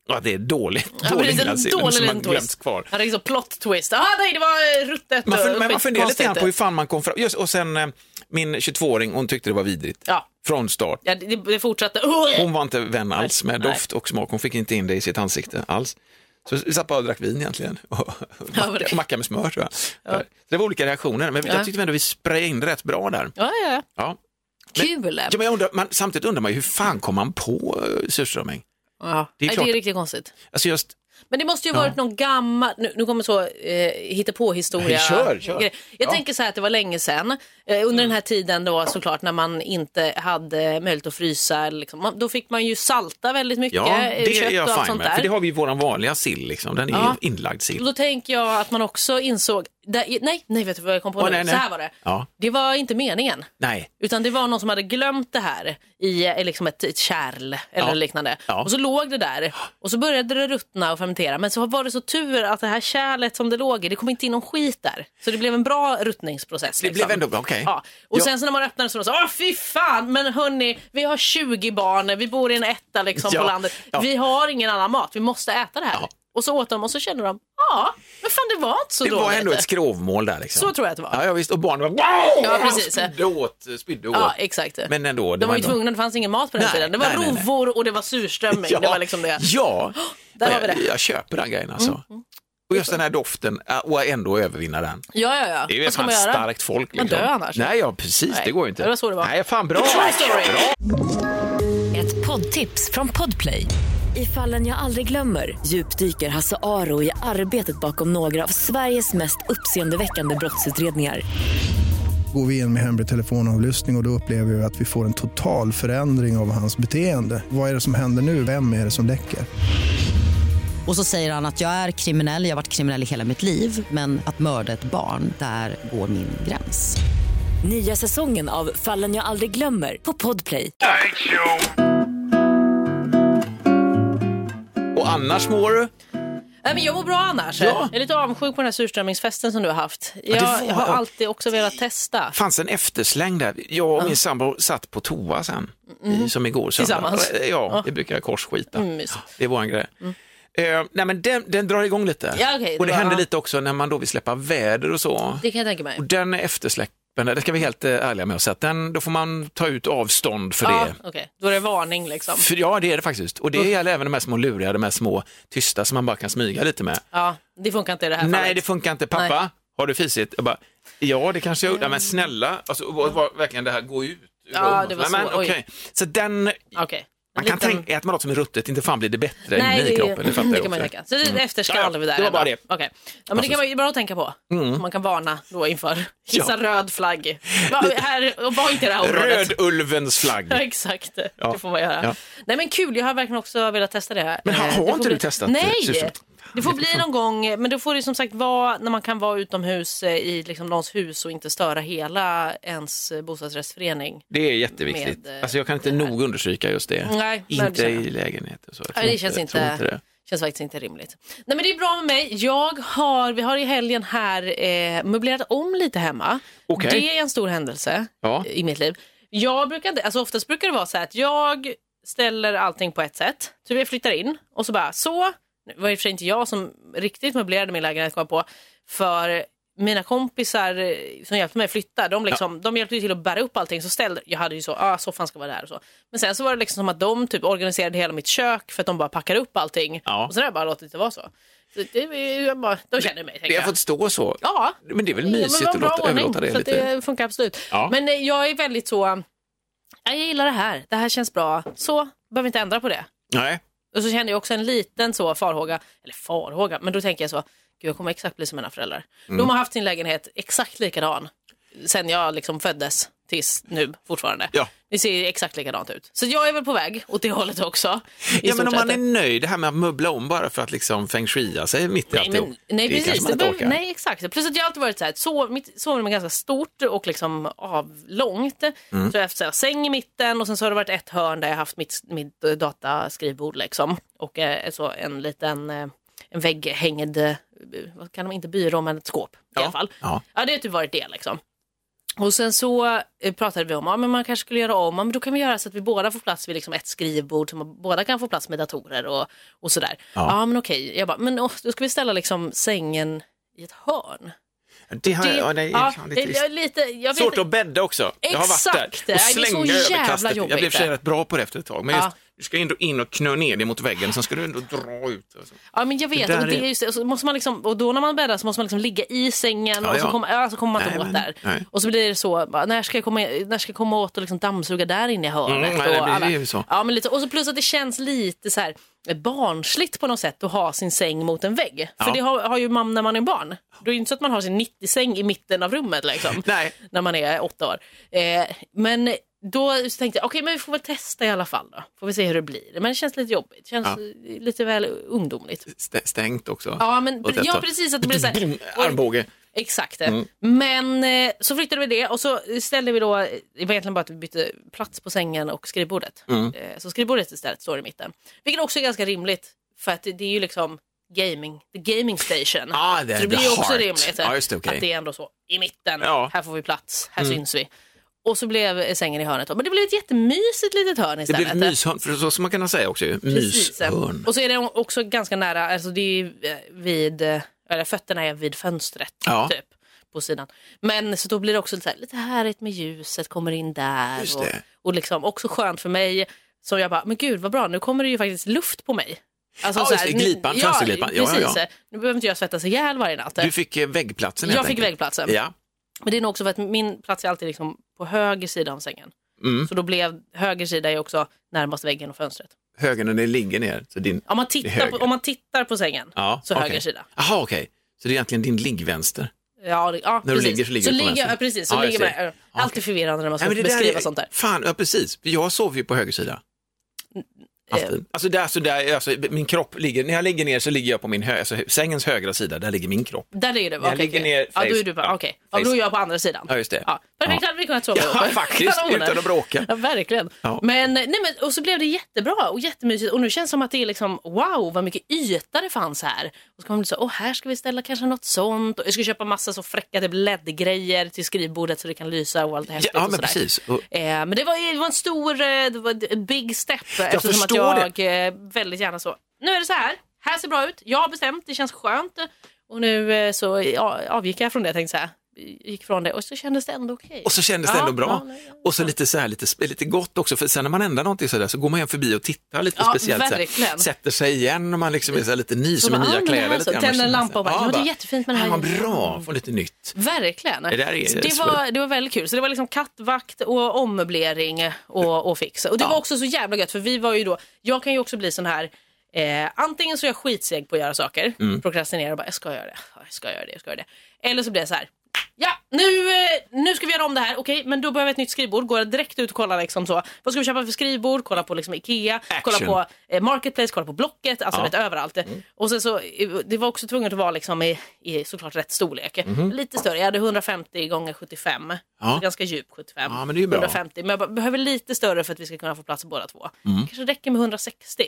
A: Och att det är dåligt,
B: Mm. Ja,
A: dålig
B: precis, en
A: inlagd sill,
B: dålig
A: alltså, som man
B: liten
A: glömt
B: twist.
A: kvar.
B: Ja, det är liksom plot twist. Ah, nej, det var eh, ruttet
A: Man, fun-
B: och
A: men man funderar lite
B: skitkonstigt.
A: grann på hur fan man kom fram. Just, och sen eh, min 22-åring, hon tyckte det var vidrigt.
B: Ja.
A: Från start.
B: Ja, det, det fortsatte.
A: Hon var inte vän alls med
B: Nej.
A: doft och smak, hon fick inte in det i sitt ansikte alls. Så vi satt bara och drack vin egentligen och, och
B: Ja, vad
A: macka,
B: det-
A: macka med smör tror jag. Så Det var olika reaktioner, men jag
B: Ja.
A: tyckte ändå vi sprayade in rätt bra där.
B: Ja, ja, ja.
A: Ja. Men-
B: Kul!
A: Ja, men jag undrar, man, samtidigt undrar man ju hur fan kom man på eh, surströmming?
B: Ja.
A: Det är
B: Det, är Nej,
A: klart.
B: det är riktigt konstigt.
A: Alltså just,
B: Men det måste ju
A: Ja.
B: varit någon gammal, nu, nu kommer så eh, hitta på historia.
A: Nej, kör, kör.
B: Jag
A: Ja.
B: tänker så här att det var länge sedan, eh, under den här tiden då såklart när man inte hade möjlighet att frysa, eller liksom, man, då fick man ju salta väldigt mycket
A: ja,
B: eh,
A: det är
B: kött och
A: jag
B: allt
A: fine
B: sånt
A: med, för det
B: där.
A: har vi ju våran vanliga sill, liksom. den är
B: Ja.
A: ju inlagd
B: Och
A: sill.
B: då tänker jag att man också insåg, där, nej, nej vet du vad jag kom på
A: Åh,
B: nu?
A: nej, nej.
B: Så här var det,
A: Ja,
B: det var inte meningen.
A: nej,
B: Utan det var någon som hade glömt det här i eh, liksom ett, ett kärl eller
A: Ja.
B: liknande.
A: Ja.
B: Och så låg det där och så började det ruttna och fermentera. Men så var det så tur att det här kärlet som det låg i, det kom inte in någon skit där. Så det blev en bra ruttningsprocess.
A: det blev ändå bra, okej.
B: Liksom. Ja. Och
A: Ja.
B: sen så när man öppnade så var det så, åh fy fan, men hörni, vi har 20 barn, vi bor i en etta liksom
A: Ja.
B: på landet.
A: Ja.
B: Vi har ingen annan mat, vi måste äta det här.
A: Ja.
B: Och så åt de och så kände de, ja, men fan det var inte så
A: Det
B: dåligt.
A: var ändå ett skrovmål där. Liksom.
B: Så tror jag att det var.
A: Ja, ja visst, och barnen var wow!
B: Ja, precis.
A: Spydde åt, spydde åt.
B: Ja, exakt.
A: Men ändå, det
B: De var ju
A: ändå-
B: tvungna, det fanns ingen mat på den
A: Nej,
B: tiden. Det var
A: nej, nej, nej.
B: rovor och det var surströmming. Det var liksom det.
A: Ja,
B: där har vi det. Mm,
A: jag köper den grejen alltså. Och just den här doften, äh, och ändå övervinna den.
B: Ja, ja, ja.
A: Det är ju
B: Vad
A: ett
B: ska
A: fan
B: man göra?
A: starkt folk.
B: Man
A: Liksom.
B: dör annars.
A: Nej, ja, precis,
B: Nej,
A: det går ju inte.
B: det var så det var.
A: Nej, fan bra.
B: True story.
A: bra.
C: Ett poddtips från Podplay. I fallen jag aldrig glömmer djupdyker Hasse Aro i arbetet bakom några av Sveriges mest uppseendeväckande brottsutredningar.
D: Går vi in med hemlig telefonavlyssning och, och då upplever vi att vi får en total förändring av hans beteende. Vad är det som händer nu? Vem är det som läcker?
E: Och så säger han att jag är kriminell, jag har varit kriminell i hela mitt liv men att mörda ett barn, där går min gräns.
C: Nya säsongen av Fallen jag aldrig glömmer på Podplay.
A: Och annars mår du?
B: Nej, men jag mår bra annars.
A: Ja.
B: Jag är lite avundsjuk på den här surströmmingsfesten som du har haft. Jag,
A: var-
B: jag har alltid också velat testa.
A: fanns en eftersläng där. Jag och min sambo satt på toa sen, i- som igår. söndag.
B: Mm. Tillsammans.
A: Ja, vi brukar korsskita.
B: Mm, mysigt. Mm.
A: Det är våran grej. Eh, nej, men den, den drar igång lite.
B: Ja, okej,
A: och det
B: det var-
A: händer
B: ja.
A: lite också när man då vill släppa väder och så.
B: Det kan jag tänka mig.
A: Och den är eftersläppen, det ska vi helt eh, ärliga med oss, att den, då får man ta ut avstånd för
B: Ja,
A: det.
B: okej. Då är det varning liksom.
A: För, ja, det är det faktiskt. Och det gäller även de här små luriga, de här små tysta som man bara kan smyga lite med.
B: Ja, det funkar inte i det här
A: Nej,
B: fallet.
A: det funkar inte. Pappa,
B: Nej. Mm.
A: har du fisit? Jag bara, ja, det kanske jag gjorde. Ja, Men snälla, alltså, och, och, och, verkligen det här, gå ut. ur
B: Ja,
A: rummet.
B: det var
A: Nej,
B: så.
A: men,
B: Oj.
A: okej. Så den,
B: Okej.
A: man
B: En
A: kan
B: liten-
A: tänka, äter man något som är ruttet, inte fan blir det bättre
B: Nej,
A: inne i kroppen. Det fattar
B: det
A: jag
B: kan man ju
A: också. Mm.
B: tänka. Så det är ett efterskalv
A: Ja, ja,
B: där.
A: det Mm. var bara
B: ändå. Okej. Ja, men det kan vara bra att tänka på. Så man kan varna då inför. Hissa röd flagg. Va, här, och var inte i det här området.
A: Rödulvens flagg.
B: Ja, exakt.
A: Ja.
B: Det får man göra.
A: Ja.
B: Nej men kul, jag har verkligen också velat testa det. här.
A: Men har-
B: Eh,
A: har
B: det får
A: inte du
B: bli-
A: testat, eh,
B: Nej!
A: Susan?
B: Det får bli någon gång, eh, men då får det som sagt vara när man kan vara utomhus eh, i liksom någons hus och inte störa hela ens eh, bostadsrättsförening.
A: Det är jätteviktigt.
B: Med, eh,
A: alltså jag kan inte nog understryka just det.
B: Nej, men
A: inte
B: det känner jag.
A: i lägenheter. Så. Jag
B: Nej,
A: tror
B: det känns
A: jag tror
B: inte,
A: det.
B: känns faktiskt inte rimligt. Nej men det är bra med mig. Jag har, vi har i helgen här eh, möblerat om lite hemma.
A: Okej.
B: Det är en stor händelse
A: Ja.
B: i mitt liv. Jag brukar inte, alltså oftast brukar det vara så här att jag ställer allting på ett sätt. Typ jag flyttar in och så bara så. Det var i och för sig inte jag som riktigt möblerade min lägenhet kom jag på. För mina kompisar eh, som hjälpte mig flytta, de, liksom, de hjälpte ju till att bära upp allting. Så ställde, jag hade ju så, ah, soffan ska vara där och så. Men sen så var det liksom som att de typ organiserade hela mitt kök för att de bara packade upp allting.
A: Ja.
B: Och sen har jag bara låtit det vara så. så det, är ju bara, de känner mig tänker
A: Det har
B: jag.
A: fått stå så.
B: Ja,
A: Men det är väl
B: Ja, men
A: mysigt
B: vad
A: att
B: bra
A: låta,
B: ordning,
A: överlåta det
B: så
A: lite.
B: att det funkar absolut.
A: Ja.
B: Men eh, jag är väldigt så, jag gillar det här, det här känns bra, så behöver inte ändra på det.
A: Nej.
B: Och så känner jag också en liten så farhåga, eller farhåga, men då tänker jag så, gud jag kommer exakt bli som mina föräldrar.
A: Mm.
B: De har haft sin lägenhet exakt likadan sen jag liksom föddes tills nu fortfarande.
A: Ja.
B: Det ser ju exakt likadant ut. Så jag är väl på väg åt det hållet också. i
A: Ja, men
B: stort
A: om man
B: sett.
A: är nöjd, det här med att möbla om bara för att liksom feng shuia sig mitt i
B: Nej,
A: alltihop.
B: men, nej
A: det
B: precis.
A: kanske man
B: Det
A: inte
B: behöver,
A: orkar.
B: nej, exakt. Plus att jag har alltid varit så här, ett sov, mitt sovrum är ganska stort och liksom avlångt.
A: Mm.
B: Så jag har haft så här, säng i mitten och sen så har det varit ett hörn där jag har haft mitt, mitt eh, dataskrivbord liksom. Och eh, så en liten eh, en vägghängd, eh, vad kan de inte byrå, men ett skåp i alla fall.
A: Ja.
B: Ja, det har typ varit det liksom. Och sen så eh, pratade vi om att men man kanske skulle göra om, ja, men då kan vi göra så att vi båda får plats vid liksom ett skrivbord, så man, båda kan få plats med datorer och, och sådär. Ja. men okej, jag bara, men åh, då ska vi ställa liksom sängen i ett hörn.
A: Det har,
B: Det-
A: ja, det är
B: ja,
A: fan
B: det-
A: lite
B: det är
A: trist.
B: lite, jag vet,
A: Svårt att bädda också. Jag har varit
B: Exakt,
A: där
B: det är
A: och
B: så
A: slänga
B: jävla
A: överkastet. Jag
B: jobbigt
A: blev i och för sig
B: det.
A: rätt bra på det efter ett tag. Men just,
B: Ja.
A: Du ska ändå in och knö ner dig mot väggen, sen ska du ändå dra ut. Alltså.
B: Ja men jag vet,
A: där
B: och, det
A: är-
B: är just, det. och, så måste man liksom, och då när man bäddar så måste man liksom ligga i sängen
A: Ja,
B: och så
A: ja.
B: kommer, ja, så kommer man inte
A: Nej,
B: åt
A: men-
B: där.
A: nej.
B: Och så blir det så, bara, när ska jag komma, när ska jag komma åt och liksom dammsuga där inne i hörnet?
A: Mm, nej,
B: och
A: det blir
B: alla-
A: ju så.
B: Ja, men lite, och så plus att det känns lite så här barnsligt på något sätt att ha sin säng mot en vägg. För
A: Ja.
B: det har, har ju man när man är barn. Då är det inte så att man har sin 90-säng i mitten av rummet liksom,
A: Nej,
B: när man är åtta år. Eh, men då så tänkte jag, okej men vi får väl testa i alla fall då. Får vi se hur det blir. Men det känns lite jobbigt, känns
A: Ja.
B: lite väl ungdomligt.
A: stä- stängt också.
B: Ja, men,
A: Åt ett
B: ja
A: håll.
B: precis. Att det blir så här,
A: Boom, armbåge.
B: exakt det.
A: Mm.
B: Men eh, så flyttade vi det och så ställde vi då, det var egentligen bara att vi bytte plats på sängen och skrivbordet.
A: Mm.
B: Eh, så skrivbordet istället står i mitten. Vilket också är ganska rimligt för att det, det är ju liksom gaming, the gaming station.
A: Ah, det,
B: så det blir
A: the
B: ju också
A: heart.
B: rimligt eh,
A: Ja, just det, okej.
B: att det är ändå så i mitten,
A: Ja. Mm.
B: här får vi plats, här syns vi. Och så blev eh, sängen i hörnet. då. Men det blev ett jättemysigt litet hörn
A: Det
B: istället. eh.
A: blir ett myshörn, för så som man kan säga också. ju.
B: Precis.
A: Myshörn.
B: Och så är det också ganska nära, alltså det är ju eh, vid, eh, eller fötterna är vid fönstret
A: Ja.
B: typ på sidan. Men så då blir det också lite, så här, lite härligt med ljuset, kommer in där
A: Just
B: och,
A: det.
B: och liksom också skönt för mig. Så jag bara, men gud vad bra, nu kommer det ju faktiskt luft på mig. Alltså,
A: Ja, just det,
B: nu-
A: glipan, fönsterglipan. Ja, ja,
B: precis.
A: ja.
B: eh, Nu behöver inte jag svettas ihjäl varje natt. eh.
A: Du fick eh, väggplatsen helt
B: jag fick
A: enkelt.
B: väggplatsen.
A: Ja.
B: Men det är nog också för att min plats är alltid liksom på höger sida av sängen.
A: Mm.
B: Så då blev höger sida är också närmast väggen och fönstret.
A: Höger när det ligger ner. Så din...
B: Om man
A: Det är
B: tittar
A: höger.
B: på, om man tittar på sängen
A: ja,
B: så
A: okej.
B: höger sida.
A: Jaha, okej. Så det är egentligen din liggvänster.
B: Ja, det- ja,
A: När du
B: precis.
A: ligger så ligger du på vänster.
B: ja, precis, så
A: Ja, jag
B: ligger man,
A: ser.
B: ja, Alltid förvirrande när man ska
A: men det där
B: beskriva
A: är-
B: sånt där. Eh,
A: Fan, ja precis. För Jag sover ju på höger sida. Alltid. Alltså, där, så där, alltså, min kropp ligger, när jag ligger ner så ligger jag på min hö, alltså, sängens högra sida, där ligger min kropp.
B: Där är du, okej.
A: ligger
B: okej.
A: ner,
B: ja, då är
A: face-
B: du bara, okej. Ja,
A: face-
B: då är jag på andra sidan.
A: Ja, just det.
B: Ja, perfekt,
A: Ja.
B: hade vi kunnat sova
A: Ja,
B: ihop.
A: faktiskt,
B: Kanonen.
A: utan att bråka.
B: Ja, verkligen.
A: Ja.
B: Men, nej, men, och så blev det jättebra och jättemysigt. Och nu känns det som att det är liksom, wow, vad mycket yta det fanns här. Och så kommer man så, åh, här ska vi ställa kanske något sånt. Och jag ska köpa massa så fräcka typ LED-grejer till skrivbordet så det kan lysa och allt häftigt
A: Ja,
B: och
A: men
B: sådär.
A: precis. Och,
B: Eh, men det var, det var en stor, eh, det var en big step jag eftersom att
A: förstår
B: jag eh, väldigt gärna så, nu är det så här, här ser bra ut, jag har bestämt, det känns skönt och nu eh, så ja, avgick jag från det jag tänkte så här, gick från det och så kändes det ändå okej.
A: och så kändes det
B: Ja,
A: ändå bra.
B: ja, nej, ja.
A: Och så lite, så här, lite, sp- lite gott också, för sen när man ändrar någonting sådär så går man igen förbi och tittar lite
B: Ja,
A: speciellt. Så här,
B: verkligen.
A: sätter sig igen och man liksom är så här, lite ny, som i
B: bara,
A: nya
B: ah, men det här
A: kläder.
B: så-
A: Lite grann.
B: tänder
A: Man känner
B: en lampa
A: så här,
B: och bara, ja, det är
A: bara,
B: jättefint med det
A: Ja,
B: här
A: vad bra, får lite nytt.
B: Verkligen.
A: Det där är
B: Så det, var, det var väldigt kul. Så det var liksom kattvakt och ommöblering och, och fix. Och det var också så jävla gött för vi var ju då, jag kan ju också bli sån här Eh, antingen så är jag skitseg på att göra saker,
A: Mm.
B: prokrastinerar och bara jag ska göra det, jag ska göra det, jag ska göra det. Eller så blir jag så här, ja nu, eh, nu ska vi göra om det här, okej men då behöver jag ett nytt skrivbord, går jag direkt ut och kollar liksom så, vad ska vi köpa för skrivbord, kolla på liksom Ikea, kolla på eh, Marketplace, kolla på Blocket, alltså
A: Ja. Mm.
B: vet, överallt. Och sen så, eh, det var också tvunget att vara liksom i, i såklart rätt storlek. Lite större, jag hade 150 gånger 75,
A: Mhm. Ja.
B: så ganska djup 75.
A: Ja, men det är ju bra.
B: 150, men jag bara, behöver lite större för att vi ska kunna få plats båda två.
A: Mm.
B: Det kanske räcker med 160.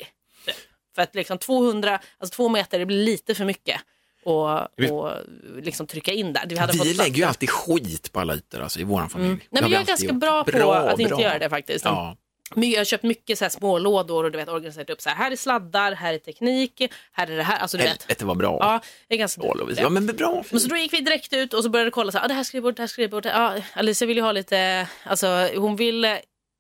B: typ. För att liksom 200, alltså två meter, det blir lite för mycket. Och, och liksom trycka in där. Vi, hade fått
A: Vi
B: plats
A: lägger ju
B: där.
A: alltid skit på alla ytor alltså, i vår familj. Det har
B: Nej, men
A: vi
B: jag är
A: alltid
B: ganska
A: gjort.
B: bra på att inte
A: bra.
B: göra det faktiskt.
A: Ja.
B: Men jag har köpt mycket så här små lådor och du vet organiserat upp så här. Här är sladdar, här är teknik, här är det här. Alltså du vet.
A: Helvete vad bra.
B: Ja, jag är ganska
A: Paul och vi- Ja, men bra.
B: Men så då gick vi direkt ut och så började kolla så här, ah, det här skrivbordet, det här skrivbordet. Ah, Alicia vill ju ha lite, alltså hon vill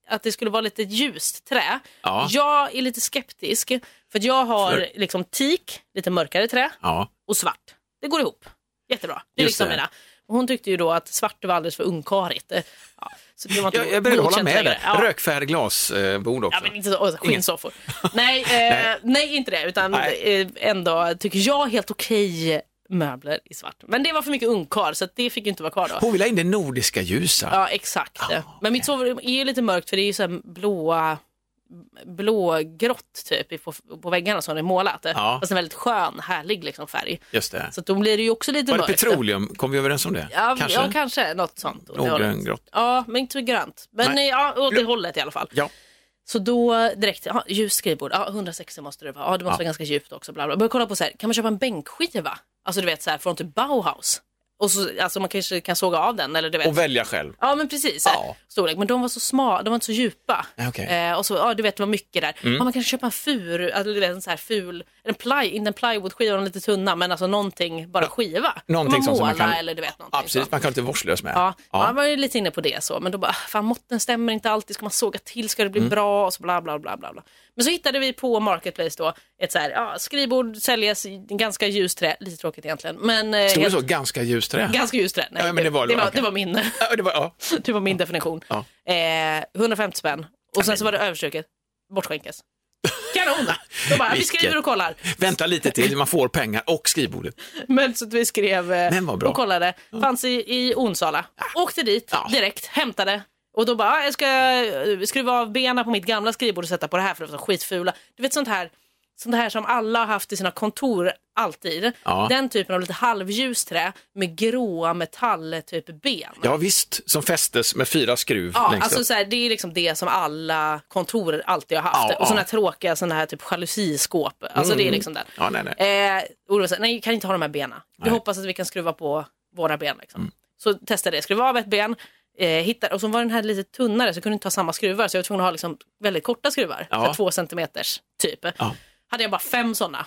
B: att det skulle vara lite ljust trä.
A: Ja.
B: Jag är lite skeptisk för att jag har
A: För-
B: liksom teak, lite mörkare trä
A: Ja,
B: och svart. Det går ihop. Jättebra. Det är
A: Just
B: liksom
A: det.
B: mina. Och Hon tyckte ju då att svart var alldeles för ungkarigt. Eh, Ja, så det var inte
A: jag, jag är beredd att hålla
B: godkänt
A: med
B: längre.
A: dig. Rökfärg glasbord
B: Ja,
A: eh, också.
B: men inte så, och skinnsoffor. nej, eh,
A: Alltså, Nej.
B: nej, inte det. Utan
A: Nej.
B: eh, ändå tycker jag helt okej möbler i svart. Men det var för mycket ungkarl så att det fick ju inte vara kvar då.
A: Hon vill ha in det nordiska ljusa.
B: Ja, exakt.
A: Ah,
B: Men mitt sovrum är ju lite mörkt för det är ju så här blåa blågrått typ i- på, på väggarna som det är målat.
A: Ja.
B: Fast en väldigt skön, härlig liksom, färg.
A: Just det.
B: Så att då blir det ju också lite
A: Var det
B: mörkt.
A: petroleum? Kom vi överens om det?
B: Ja,
A: Kanske?
B: kanske. ja, kanske något sånt. åt det
A: Några
B: hållet.
A: grått.
B: Ja, men inte så grönt. Men
A: Nej.
B: eh, ja, åt det hållet i alla fall.
A: Ja.
B: Så då direkt, ja, ljus skrivbord, ja, 160 måste det vara, ja, det måste vara ganska djupt också. Bla bla. Började kolla på så här, kan man köpa en bänkskiva? Alltså du vet så här från typ Bauhaus. Och så, alltså man kanske kan såga av den eller du vet.
A: Och välja själv.
B: Ja men precis,
A: Ja.
B: storlek. Men de var så smala, de var inte så djupa.
A: Ja, okej. Mm.
B: Eh, och så, ja du vet det var mycket där. Ja, man kan köpa en furu, eller du vet, en så här ful, en ply, inte en plywoodskiva, de är lite tunna, men alltså någonting, bara skiva.
A: Någonting
B: man
A: sånt som man
B: målar
A: kan-
B: eller du vet någonting.
A: Absolut,
B: Så.
A: man kan vara lite vårdslös med.
B: Ja,
A: Ja.
B: man var ju lite inne på det så, men då bara, "Ah, fan måtten stämmer inte alltid, ska man såga till, ska det
A: Mm.
B: bli bra och så bla bla bla bla. bla. Men så hittade vi på Marketplace då, ett så här, ja, skrivbord säljes, i ganska ljust trä, lite tråkigt egentligen, men eh,
A: Stod det
B: helt-
A: så? Ganska ljust trä?
B: ganska ljust trä. Nej,
A: Ja, men det var-
B: det, var,
A: okej.
B: det var min.
A: Ja, det var, ja.
B: Det var min definition.
A: Ja.
B: Eh, 150 spänn. Och sen så var det överköket. Bortskänkes. Kanon! De bara, vi
A: Vilket-
B: skriver och kollar.
A: Vänta lite till, man får pengar och skrivbordet.
B: Men så att vi skrev eh,
A: Men vad bra.
B: och kollade. Fanns i, i Onsala. Åkte dit
A: Ja.
B: direkt, hämtade. Och då bara, ah, jag ska eh, skruva av benen på mitt gamla skrivbord och sätta på det här för det var så skitfula. Du vet sånt här, sånt här som alla har haft i sina kontor alltid.
A: Ja.
B: Den typen av lite halvljust trä med gråa metall typ ben.
A: Ja visst, som fästes med fyra skruv
B: Ja,
A: längst
B: alltså
A: upp.
B: så här, det är liksom det som alla kontor alltid har haft.
A: Ja,
B: och sådana
A: ja. Mm.
B: här tråkiga sådana här typ jalusiskåp. Alltså det är liksom den.
A: Ja, nej, nej.
B: Eh, Olof sa, nej, vi kan inte ha de här benen. Vi
A: Nej. Mm.
B: hoppas att vi kan skruva på våra ben. Liksom. Så testade jag, skruva av ett ben, eh, hittade, och så var den här lite tunnare så jag kunde inte ha samma skruvar. Så jag var tvungen att ha liksom, väldigt korta skruvar,
A: Ja.
B: så här två centimeters typ.
A: Ja.
B: Hade jag bara fem sådana.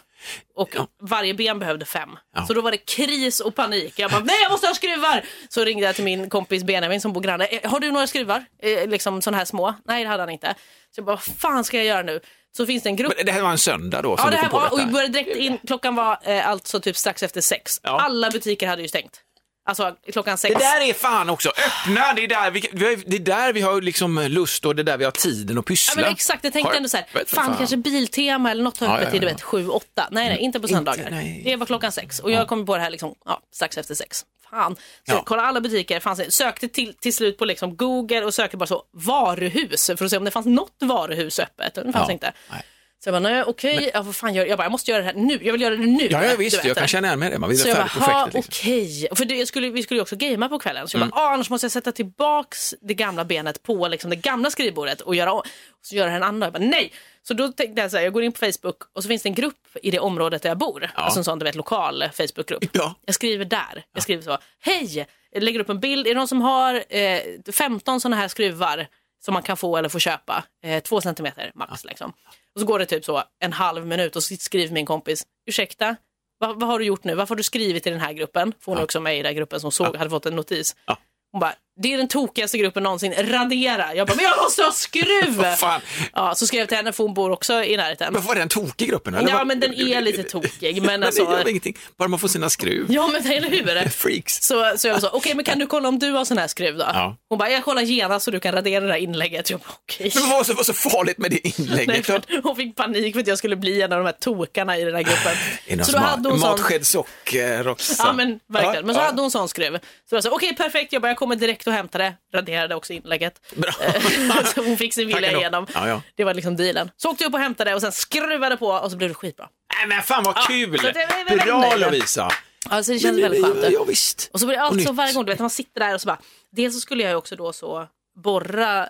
B: Och
A: Ja.
B: varje ben behövde fem.
A: Ja.
B: Så då var det kris och panik. Jag bara, nej jag måste ha skruvar! Så ringde jag till min kompis Benjamin som bor granne. "Eh, Har du några skruvar? Eh, liksom sådana här små? Nej det hade han inte. Så jag bara, vad fan ska jag göra nu? Så finns det en grupp
A: Men det här var en söndag då som
B: Ja, det
A: du
B: här
A: kom på
B: var, och vi
A: detta?
B: började direkt in, klockan var eh, alltså typ strax efter sex.
A: Ja.
B: Alla butiker hade ju stängt. Alltså klockan sex.
A: Det där är fan också, öppna, det är där vi, vi har- det är där vi har liksom lust och det är där vi har tiden att
B: Ja,
A: pyssla.
B: men exakt, jag tänkte
A: Har-
B: ändå så här,
A: Vet
B: fan,
A: du
B: kanske Biltema eller något har
A: Ja,
B: öppet
A: ja,
B: till du
A: ja. Mm.
B: vet sju, åtta. Nej, nej, inte på söndagar.
A: nej.
B: det var klockan sex och jag kom på det här liksom, ja, strax efter sex. Fan. Så
A: Ja.
B: jag kollade alla butiker, fanns, det- sökte till, till slut på liksom Google och sökte bara så varuhus för att se om det fanns något varuhus öppet. Det fanns
A: Ja.
B: inte.
A: Nej.
B: Så jag bara, nej, okej, ja, vad fan gör jag? bara, jag måste göra det här nu. Jag vill göra det nu.
A: Ja, ja
B: du
A: visst,
B: vet.
A: jag kan känna igen mig i det. Man vill
B: Så
A: ha
B: jag bara,
A: färdigt
B: ha,
A: projektet. Liksom. Mm.
B: okej. För det, jag skulle, vi skulle ju också gamea på kvällen. Så jag bara, ah, annars måste jag sätta tillbaks det gamla benet på liksom, det gamla skrivbordet och göra om. Så gör jag en annan. Jag bara, nej! Så då tänkte jag så här, jag går in på Facebook och så finns det en grupp i det området där jag bor. Alltså en sån du vet, lokal Facebookgrupp.
A: liksom." Ja.
B: Jag skriver där. Jag skriver så, hej! Jag lägger upp en bild. Är det någon som har eh, 15 såna här skruvar som man kan få eller få köpa? Eh, två centimeter max liksom. Och så går det typ så en halv minut och så skriver min kompis, ursäkta, vad, vad har du gjort nu? Varför har du skrivit i den här gruppen? För hon är också med i den här gruppen som såg, hade fått en notis.
A: Ja.
B: Hon bara, det är den tokigaste gruppen någonsin, radera! Jag bara, men jag måste ha skruv!
A: Vad fan,
B: ja, så skrev jag till henne för hon bor också i närheten.
A: men var den tokig gruppen? Eller
B: Ja
A: vad-
B: men den är lite tokig men
A: Men det
B: alltså.
A: gör ingenting, bara man får sina skruv.
B: Ja men eller hur?
A: Freaks.
B: Så, så jag sa, okej men kan du kolla om du har sån här skruv då?
A: Ja.
B: Hon bara, jag kollar genast så du kan radera det här inlägget. Jag bara, okej.
A: Men vad var så, vad så farligt med det
B: Nej,
A: inlägget?
B: för att hon fick panik för att jag skulle bli en av de här tokarna i den här
A: Är det
B: gruppen.
A: någon
B: Så då
A: som har
B: hade hon sån...
A: Matsked socker också.
B: Ja men verkligen. Men så
A: Ja,
B: hade hon sån skruv. Så jag sa, okej perfekt, jag bara, jag kommer direkt och hämtar det. Raderade också inlägget.
A: Bra.
B: så hon fick sin vilja
A: Tackar då.
B: igenom.
A: Ja, ja.
B: Det var liksom dealen. Så åkte jag upp och hämtade och sen skruvade på och så blev det skitbra.
A: Nej men fan vad kul!
B: så det är väl
A: Bra
B: vänner.
A: Lovisa!
B: Alltså det känns väldigt skönt.
A: Ja, visst.
B: Och så blir det allt så
A: nytt.
B: varje gång, du vet när man sitter där och så bara, dels så skulle jag ju också då så borra,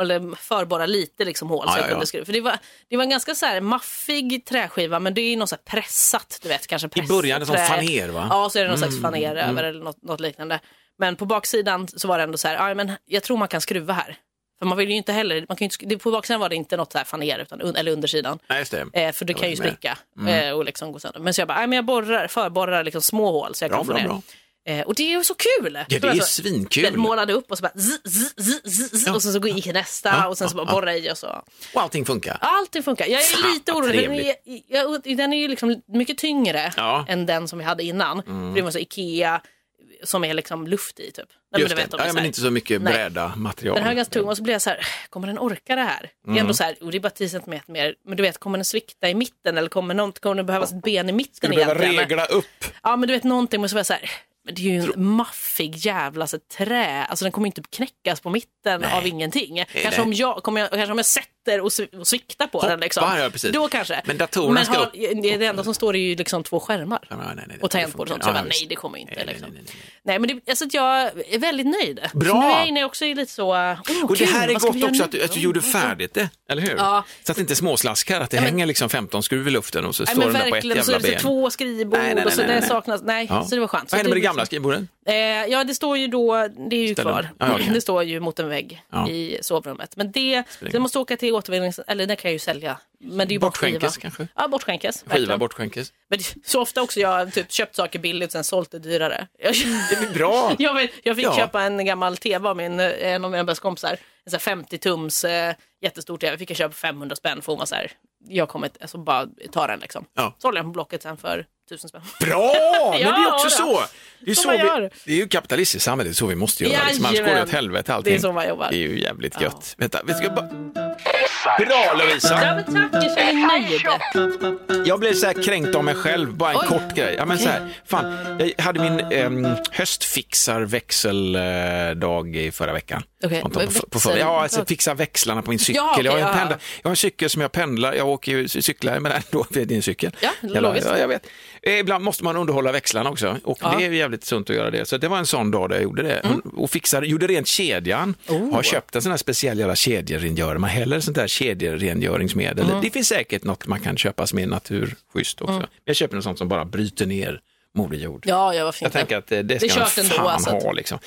B: eller förborra lite liksom hål
A: Ja,
B: så
A: ja,
B: jag kunde
A: ja.
B: skruva. För det var, det var en ganska så här maffig träskiva men det är ju något så här pressat, du vet kanske pressat
A: början är det som
B: trä.
A: faner, va? Mm,
B: Ja, så är det någon slags faner över eller något, något liknande. Men på baksidan så var det ändå så här, "Aj, men jag tror man kan skruva här. För man vill ju inte heller, man kan ju inte, sk- det- på baksidan var det inte något så här faner utan, un- eller undersidan.
A: Nej, just det.
B: Eh, för det
A: Jag
B: kan ju
A: håller med.
B: spricka
A: Mm.
B: eh, och liksom gå sönder. Men så jag bara, "Nej, men jag borrar, förborrar liksom små hål så jag
A: Bra,
B: kan få
A: bra,
B: ner.
A: bra.
B: Eh, och det är ju så kul!
A: Ja, det
B: Så
A: är
B: alltså,
A: svinkul.
B: den målade upp och så bara zzz, zzz, zzz, zzz, zzz, och sen så går gick nästa
A: Ja,
B: och sen så
A: ja,
B: bara borra i och så.
A: Och allting funkar.
B: Allting funkar. Jag är
A: Fan,
B: lite
A: vad
B: orolig. för Den är, jag, den är ju liksom mycket tyngre
A: Ja. Mm.
B: än den som vi hade innan. För det var så Ikea som är liksom luft i typ. Nej,
A: Just
B: du
A: det.
B: vet, de är
A: Ja,
B: så här-
A: men inte så mycket
B: Nej.
A: bräda material.
B: Den här är ganska tung och så blir jag så här, kommer den orka det här? Det är
A: Mm.
B: ändå så här, och det är bara 10 centimeter mer, men du vet, kommer den svikta i mitten eller kommer, något, kommer det behövas ett ben i mitten
A: Ska du behöva
B: egentligen?
A: regla upp?
B: Ja men du vet någonting måste vara så här. Men det är ju en maffig jävla så, trä. Alltså den kommer ju inte knäckas på mitten av ingenting. Kanske
A: nej.
B: om, jag, kommer jag, kanske om jag sätter sitter och, svi- och sviktar på den. Liksom.
A: Hoppar, ja, precis.
B: Då kanske.
A: Men datorerna
B: Men
A: ska
B: har,
A: upp.
B: det, det enda som står är ju liksom två skärmar.
A: Ja, men, nej, nej, det-
B: Och tangentbord och sånt. Så jag
A: Ja,
B: bara,
A: visst.
B: nej det kommer inte.
A: Nej, nej,
B: liksom.
A: nej, nej,
B: Nej, men det, alltså, att jag är väldigt nöjd.
A: Bra!
B: Så nu är jag inne också i lite så, åh oh,
A: Och det här är
B: vad ska
A: gott
B: vi göra
A: också
B: nu?
A: att du, att du gjorde färdigt det, eller hur?
B: Ja.
A: Så att det inte är småslaskar, att det hänger liksom 15 skruv i luften och så
B: Nej,
A: står
B: men
A: den där på ett
B: verkligen, och så är
A: jävla
B: det så
A: ben.
B: två skrivbord
A: Nej, nej, nej,
B: och så
A: nej,
B: det
A: nej.
B: saknas, nej,
A: Ja.
B: så det var skönt.
A: Vad
B: Så
A: hände med det gamla skrivbordet?
B: Eh, ja, det står ju då, det är ju
A: Ställer-
B: kvar.
A: Ja, Ah, okej.
B: Det står ju mot en vägg
A: Ja.
B: i sovrummet. Men det,
A: ingen
B: det måste åka till återvinnings... Eller det kan jag ju sälja. Men det är ju bara
A: Bortskänkes
B: skiva.
A: kanske?
B: Ja, bortskänkes.
A: Skiva
B: verkligen.
A: bortskänkes.
B: Men det, så ofta också jag har typ köpt saker billigt och sen sålt det dyrare. Jag,
A: Det blir bra!
B: jag, vet- jag fick
A: Ja.
B: köpa en gammal tv av min, en av mina bästa kompisar. En sån här 50-tums eh, jättestor tv. Fick jag köpa 500 spänn för hon var så här, jag kommer inte- alltså bara ta den liksom.
A: Ja.
B: Sålde den på Blocket sen för 1000 spänn.
A: Bra! Men det är också
B: då.
A: så. Det är,
B: Så
A: så
B: man
A: vi,
B: gör.
A: det är ju kapitalistiskt samhälle, det är så vi måste göra. Liksom, annars går det åt
B: Jajamän.
A: helvete allting.
B: Det är så man jobbar.
A: Det är ju jävligt gött. Vänta, vi ska bara... Bra
B: Ja
A: Lovisa!
B: men tack, jag känner mig nöjd.
A: Jag blev så här kränkt av mig själv, bara en
B: Oj.
A: kort grej. Ja, men så här, fan, jag hade min ehm, höstfixarväxeldag i förra veckan.
B: Okej,
A: Anton,
B: men
A: på, på
B: växel-
A: förra. Ja, alltså, fixa växlarna på min cykel.
B: Ja, okej,
A: jag, har en
B: ja, ja.
A: pendla, jag har en cykel som jag pendlar, jag åker ju, cyklar med den då, det är din cykel.
B: Ja,
A: jag, bara,
B: logiskt.
A: ja, jag vet. Eh, Ibland måste man underhålla växlarna också och
B: Ja. Mm.
A: det är ju jävligt sunt att göra det. Så det var en sån dag där jag gjorde det och fixade, gjorde rent kedjan.
B: Oh.
A: Har köpt en sån här speciell jävla kedjerengörare, man häller sånt där kedjerengöringsmedel.
B: Mm.
A: Det finns säkert något man kan köpa som är naturschysst också. Men jag köper något sånt som bara bryter ner moderjord.
B: Ja, jag var
A: Jag tänker att eh, det
B: Det är
A: ska man
B: kört ändå,
A: fan
B: alltså.
A: ha. Liksom.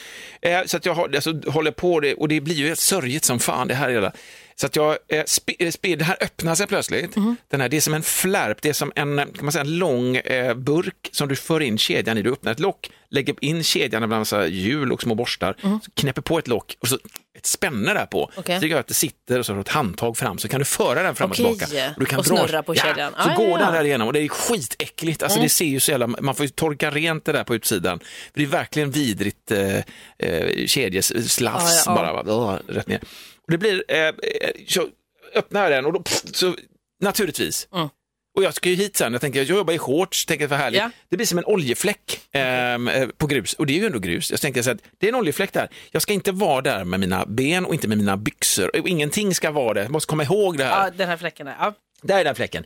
A: Eh, så att jag har, alltså, håller på det och det blir ju helt sörjigt som fan det här hela. Så att jag, eh, sp- eh, sp- det här öppnar sig plötsligt.
B: Mhm.
A: Den här, det är som en flärp, det är som en, eh, kan man säga, en lång eh, burk som du för in kedjan i. Du öppnar ett lock, lägger in kedjan bland så här hjul och små borstar, så knäpper på ett lock och så ett spänne där på.
B: Mhm. Okej.
A: Så det gör att det sitter och så har du ett handtag fram så kan du föra den fram
B: Okej.
A: och tillbaka. du kan
B: Och snurra på kedjan.
A: Ja, så
B: Ah,
A: går
B: ja,
A: den
B: ja.
A: där igenom och det är skitäckligt. Alltså,
B: Mm.
A: det ser ju så jävla, man får ju torka rent det där på utsidan. För det är verkligen vidrigt eh, eh, kedjeslafs
B: Ja, ja,
A: bara va? Åh, rätt ner. Och det blir, eh, eh, så öppnar jag den och då, pff, så, naturligtvis.
B: Mm.
A: Och jag ska ju hit sen, jag tänker jag jobbar i shorts, tänker vad härligt.
B: Ja.
A: Det blir som en oljefläck ehm, eh, på grus och det är ju ändå grus. Jag tänkte så att det är en oljefläck där. Jag ska inte vara där med mina ben och inte med mina byxor. Och Ingenting ska vara där, jag måste komma ihåg det här.
B: Ja, den här fläcken där. Ja.
A: Där är den fläcken.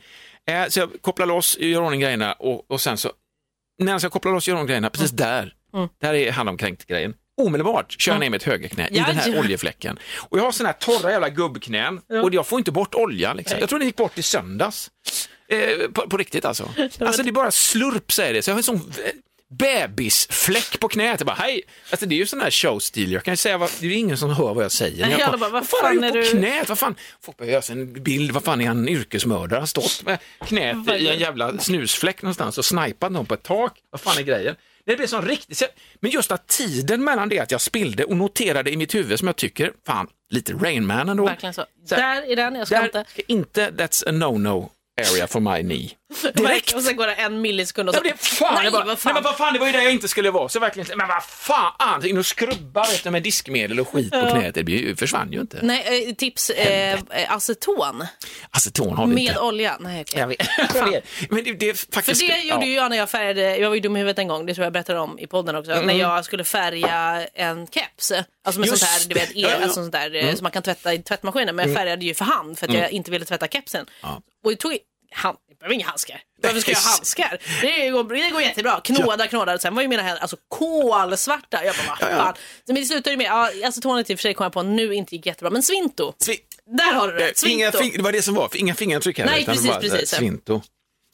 A: Eh, så jag kopplar loss, gör ordning grejerna och, och sen så, när jag kopplar loss, gör ordning grejerna, precis där, där är hand om kränkt grejen. Omedelbart kör jag ner mitt högerknä i
B: Mm. Ja,
A: den här
B: ja.
A: oljefläcken. Och jag har såna här torra jävla gubbknän och jag får inte bort oljan. Liksom. Jag tror den gick bort i söndags. Eh, på, på riktigt alltså. Alltså det är bara slurp säger det. Så jag har en sån v- bebisfläck på knät. Jag bara, hej. Alltså det är ju sån här showstil. Jag kan ju säga, vad, det är ju ingen som hör vad jag säger.
B: Nej,
A: jag
B: alla bara, vad
A: har
B: fan
A: jag gjort
B: är
A: på
B: du-
A: knät? Vad fan? Folk behöver göra sig en bild. Vad fan är han yrkesmördare? Han har stått med knät i en jävla snusfläck någonstans och snipat någon på ett tak. Vad fan är grejen? Det blir som riktigt... Men just att tiden mellan det att jag spillde och noterade i mitt huvud som jag tycker, fan, lite Rain Man ändå.
B: Verkligen så. Där är den, jag ska
A: Där,
B: inte.
A: ska inte, that's a no-no area for my knee. Direkt!
B: Och sen går det en millisekund och
A: Ja,
B: så...
A: men det, fan,
B: nej,
A: jag bara,
B: vad fan.
A: Nej, men vad fan, det var ju där jag inte skulle vara. Så verkligen, men vad fan, in och skrubba vet du, med diskmedel och skit på knät. Det blir ju- försvann ju inte.
B: Nej, eh, tips. Eh, eh, aceton
A: Aceton har vi
B: med
A: inte.
B: olja. Nej, okej.
A: Jag vet. Men det, det är
B: För
A: faktiskt...
B: det gjorde ju jag när jag färgade, jag var ju dum i huvudet en gång, det tror jag berättade om i podden också,
A: Mm.
B: när jag skulle färga en keps. Alltså med
A: Just
B: sånt här, du vet,
A: det. Ja,
B: el,
A: ja. Mm.
B: alltså sånt där eh, som man kan tvätta i tvättmaskinen, men jag färgade ju för hand för att jag inte ville tvätta kepsen.
A: Ja.
B: Och jag tog, han, jag behöver inga handskar. Varför ska jag ha
A: Nej.
B: handskar? Det går, det går jättebra. Knåda, knåda. Sen var ju mina händer alltså kolsvarta. Jag bara, vad fan. Men det slutade ju med, ja, alltså tonet i och för sig kom jag på nu inte gick jättebra, men svinto.
A: Svi-
B: Där har du
A: eh,
B: det.
A: Inga
B: Svinto.
A: fing- det var det som var, för inga fingeravtryck här.
B: Nej,
A: utan
B: precis,
A: bara, eh,
B: precis.
A: Svinto.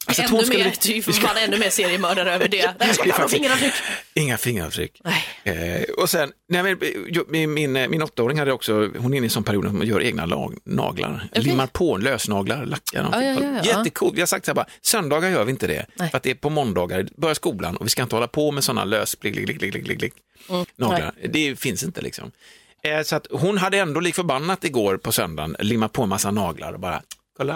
A: Aceton
B: Ännu
A: skulle
B: mer, typ
A: vi-
B: du
A: vi ska-
B: får ännu mer seriemördare över det. Nej, jag ska
A: Det är
B: ta
A: faktiskt-
B: fingeravtryck.
A: Inga fingeravtryck.
B: Nej.
A: Eh, och sen, nej, men, jo, min, min, eh, min åttaåring hade också, hon är inne i en sån period när hon gör egna lag, naglar, limmar på lösnaglar, lackar dem.
B: Ja, ja, ja, ja.
A: Jättecoolt, vi har sagt så här bara, söndagar gör vi inte det, för att det är på måndagar, börjar skolan och vi ska inte hålla på med sådana lös, blick, blick, blick, blick, blick, blick,
B: Mm.
A: naglar. Det finns inte liksom. Eh, så att hon hade ändå lik förbannat igår på söndagen limmat på en massa naglar och bara, kolla,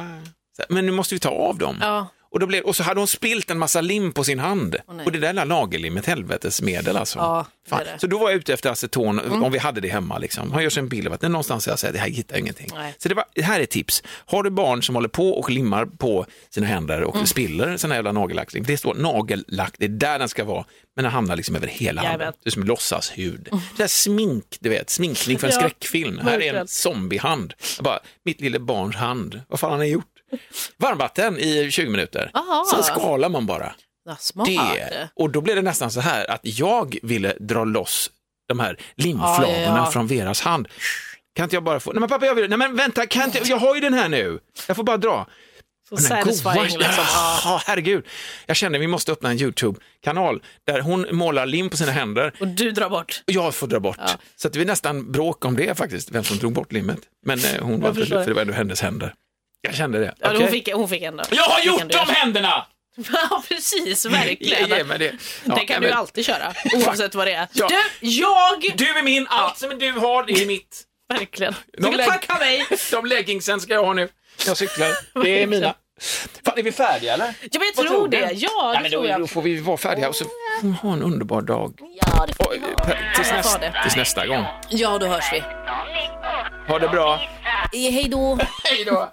A: så här, men nu måste vi ta av dem.
B: Ja.
A: Och, då blev, och så hade hon spilt en massa lim på sin hand.
B: nej.
A: och det där lilla lagerlimmet, helvetes medel alltså.
B: Ja, det
A: Fan.
B: är det. Mm.
A: Så då var jag ute efter aceton, om vi hade det hemma. Liksom. Han gör sig en bild av att någonstans jag säger, det här hittar jag ingenting.
B: Nej.
A: Så det, var, det här är ett tips. Har du barn som håller på och limmar på sina händer
B: Mm.
A: och spiller sån här jävla nagellack, liksom, det står nagellack, det är där den ska vara, men den hamnar liksom över hela handen.
B: Jajamän.
A: Det är som låtsashud. Det där smink, du vet, sminkning för en
B: Mm. Ja,
A: skräckfilm. Här är en
B: verkligen.
A: zombiehand. Jag bara, mitt lille barns hand, vad fan har ni gjort? Varmvatten i 20 minuter.
B: Aha.
A: Sen skalar man bara
B: Ja, smart.
A: det. Och då blev det nästan så här att jag ville dra loss de här limflagorna
B: Ja, ja, ja.
A: från Veras hand. Kan inte jag bara få, nej men pappa jag vill, nej men vänta, kan inte, jag har ju den här nu, jag får bara dra.
B: Så
A: Men den goda-
B: satisfying liksom. Ja.
A: Ja, herregud. Jag kände vi måste öppna en YouTube-kanal där hon målar lim på sina händer
B: Och du drar bort.
A: och jag får dra bort. Så att det är nästan bråk om det faktiskt, vem som drog bort limmet. Men eh, hon var inte
B: förstår.
A: för det var ändå hennes händer. Jag kände det.
B: Ja,
A: Okej.
B: hon, fick, hon fick ändå.
A: Jag har
B: Det kan
A: gjort
B: du
A: de
B: göra.
A: händerna!
B: Ja, precis. Verkligen.
A: Ja, ja, men det, ja,
B: det kan du
A: men-
B: alltid köra, oavsett vad det är.
A: Ja.
B: Du, jag!
A: Du är min, allt som du har det är mitt.
B: Verkligen. Du
A: De
B: kan
A: lägg-
B: tacka mig.
A: De leggingsen ska jag ha nu. Jag cyklar. Det är mina. Fan, är vi färdiga eller?
B: Ja, men jag
A: Vad tror
B: tror
A: du?
B: det. Ja, det
A: men
B: tror
A: då, då
B: jag.
A: får vi vara färdiga och så Mm, ha en underbar dag.
B: Ja, det får
A: Och,
B: vi
A: eh,
B: ha.
A: pe- tills,
B: Ja, jag
A: nästa,
B: sa det.
A: tills nästa gång.
B: Ja, då hörs vi.
A: Ha det bra.
C: Hej då!
A: Hej då.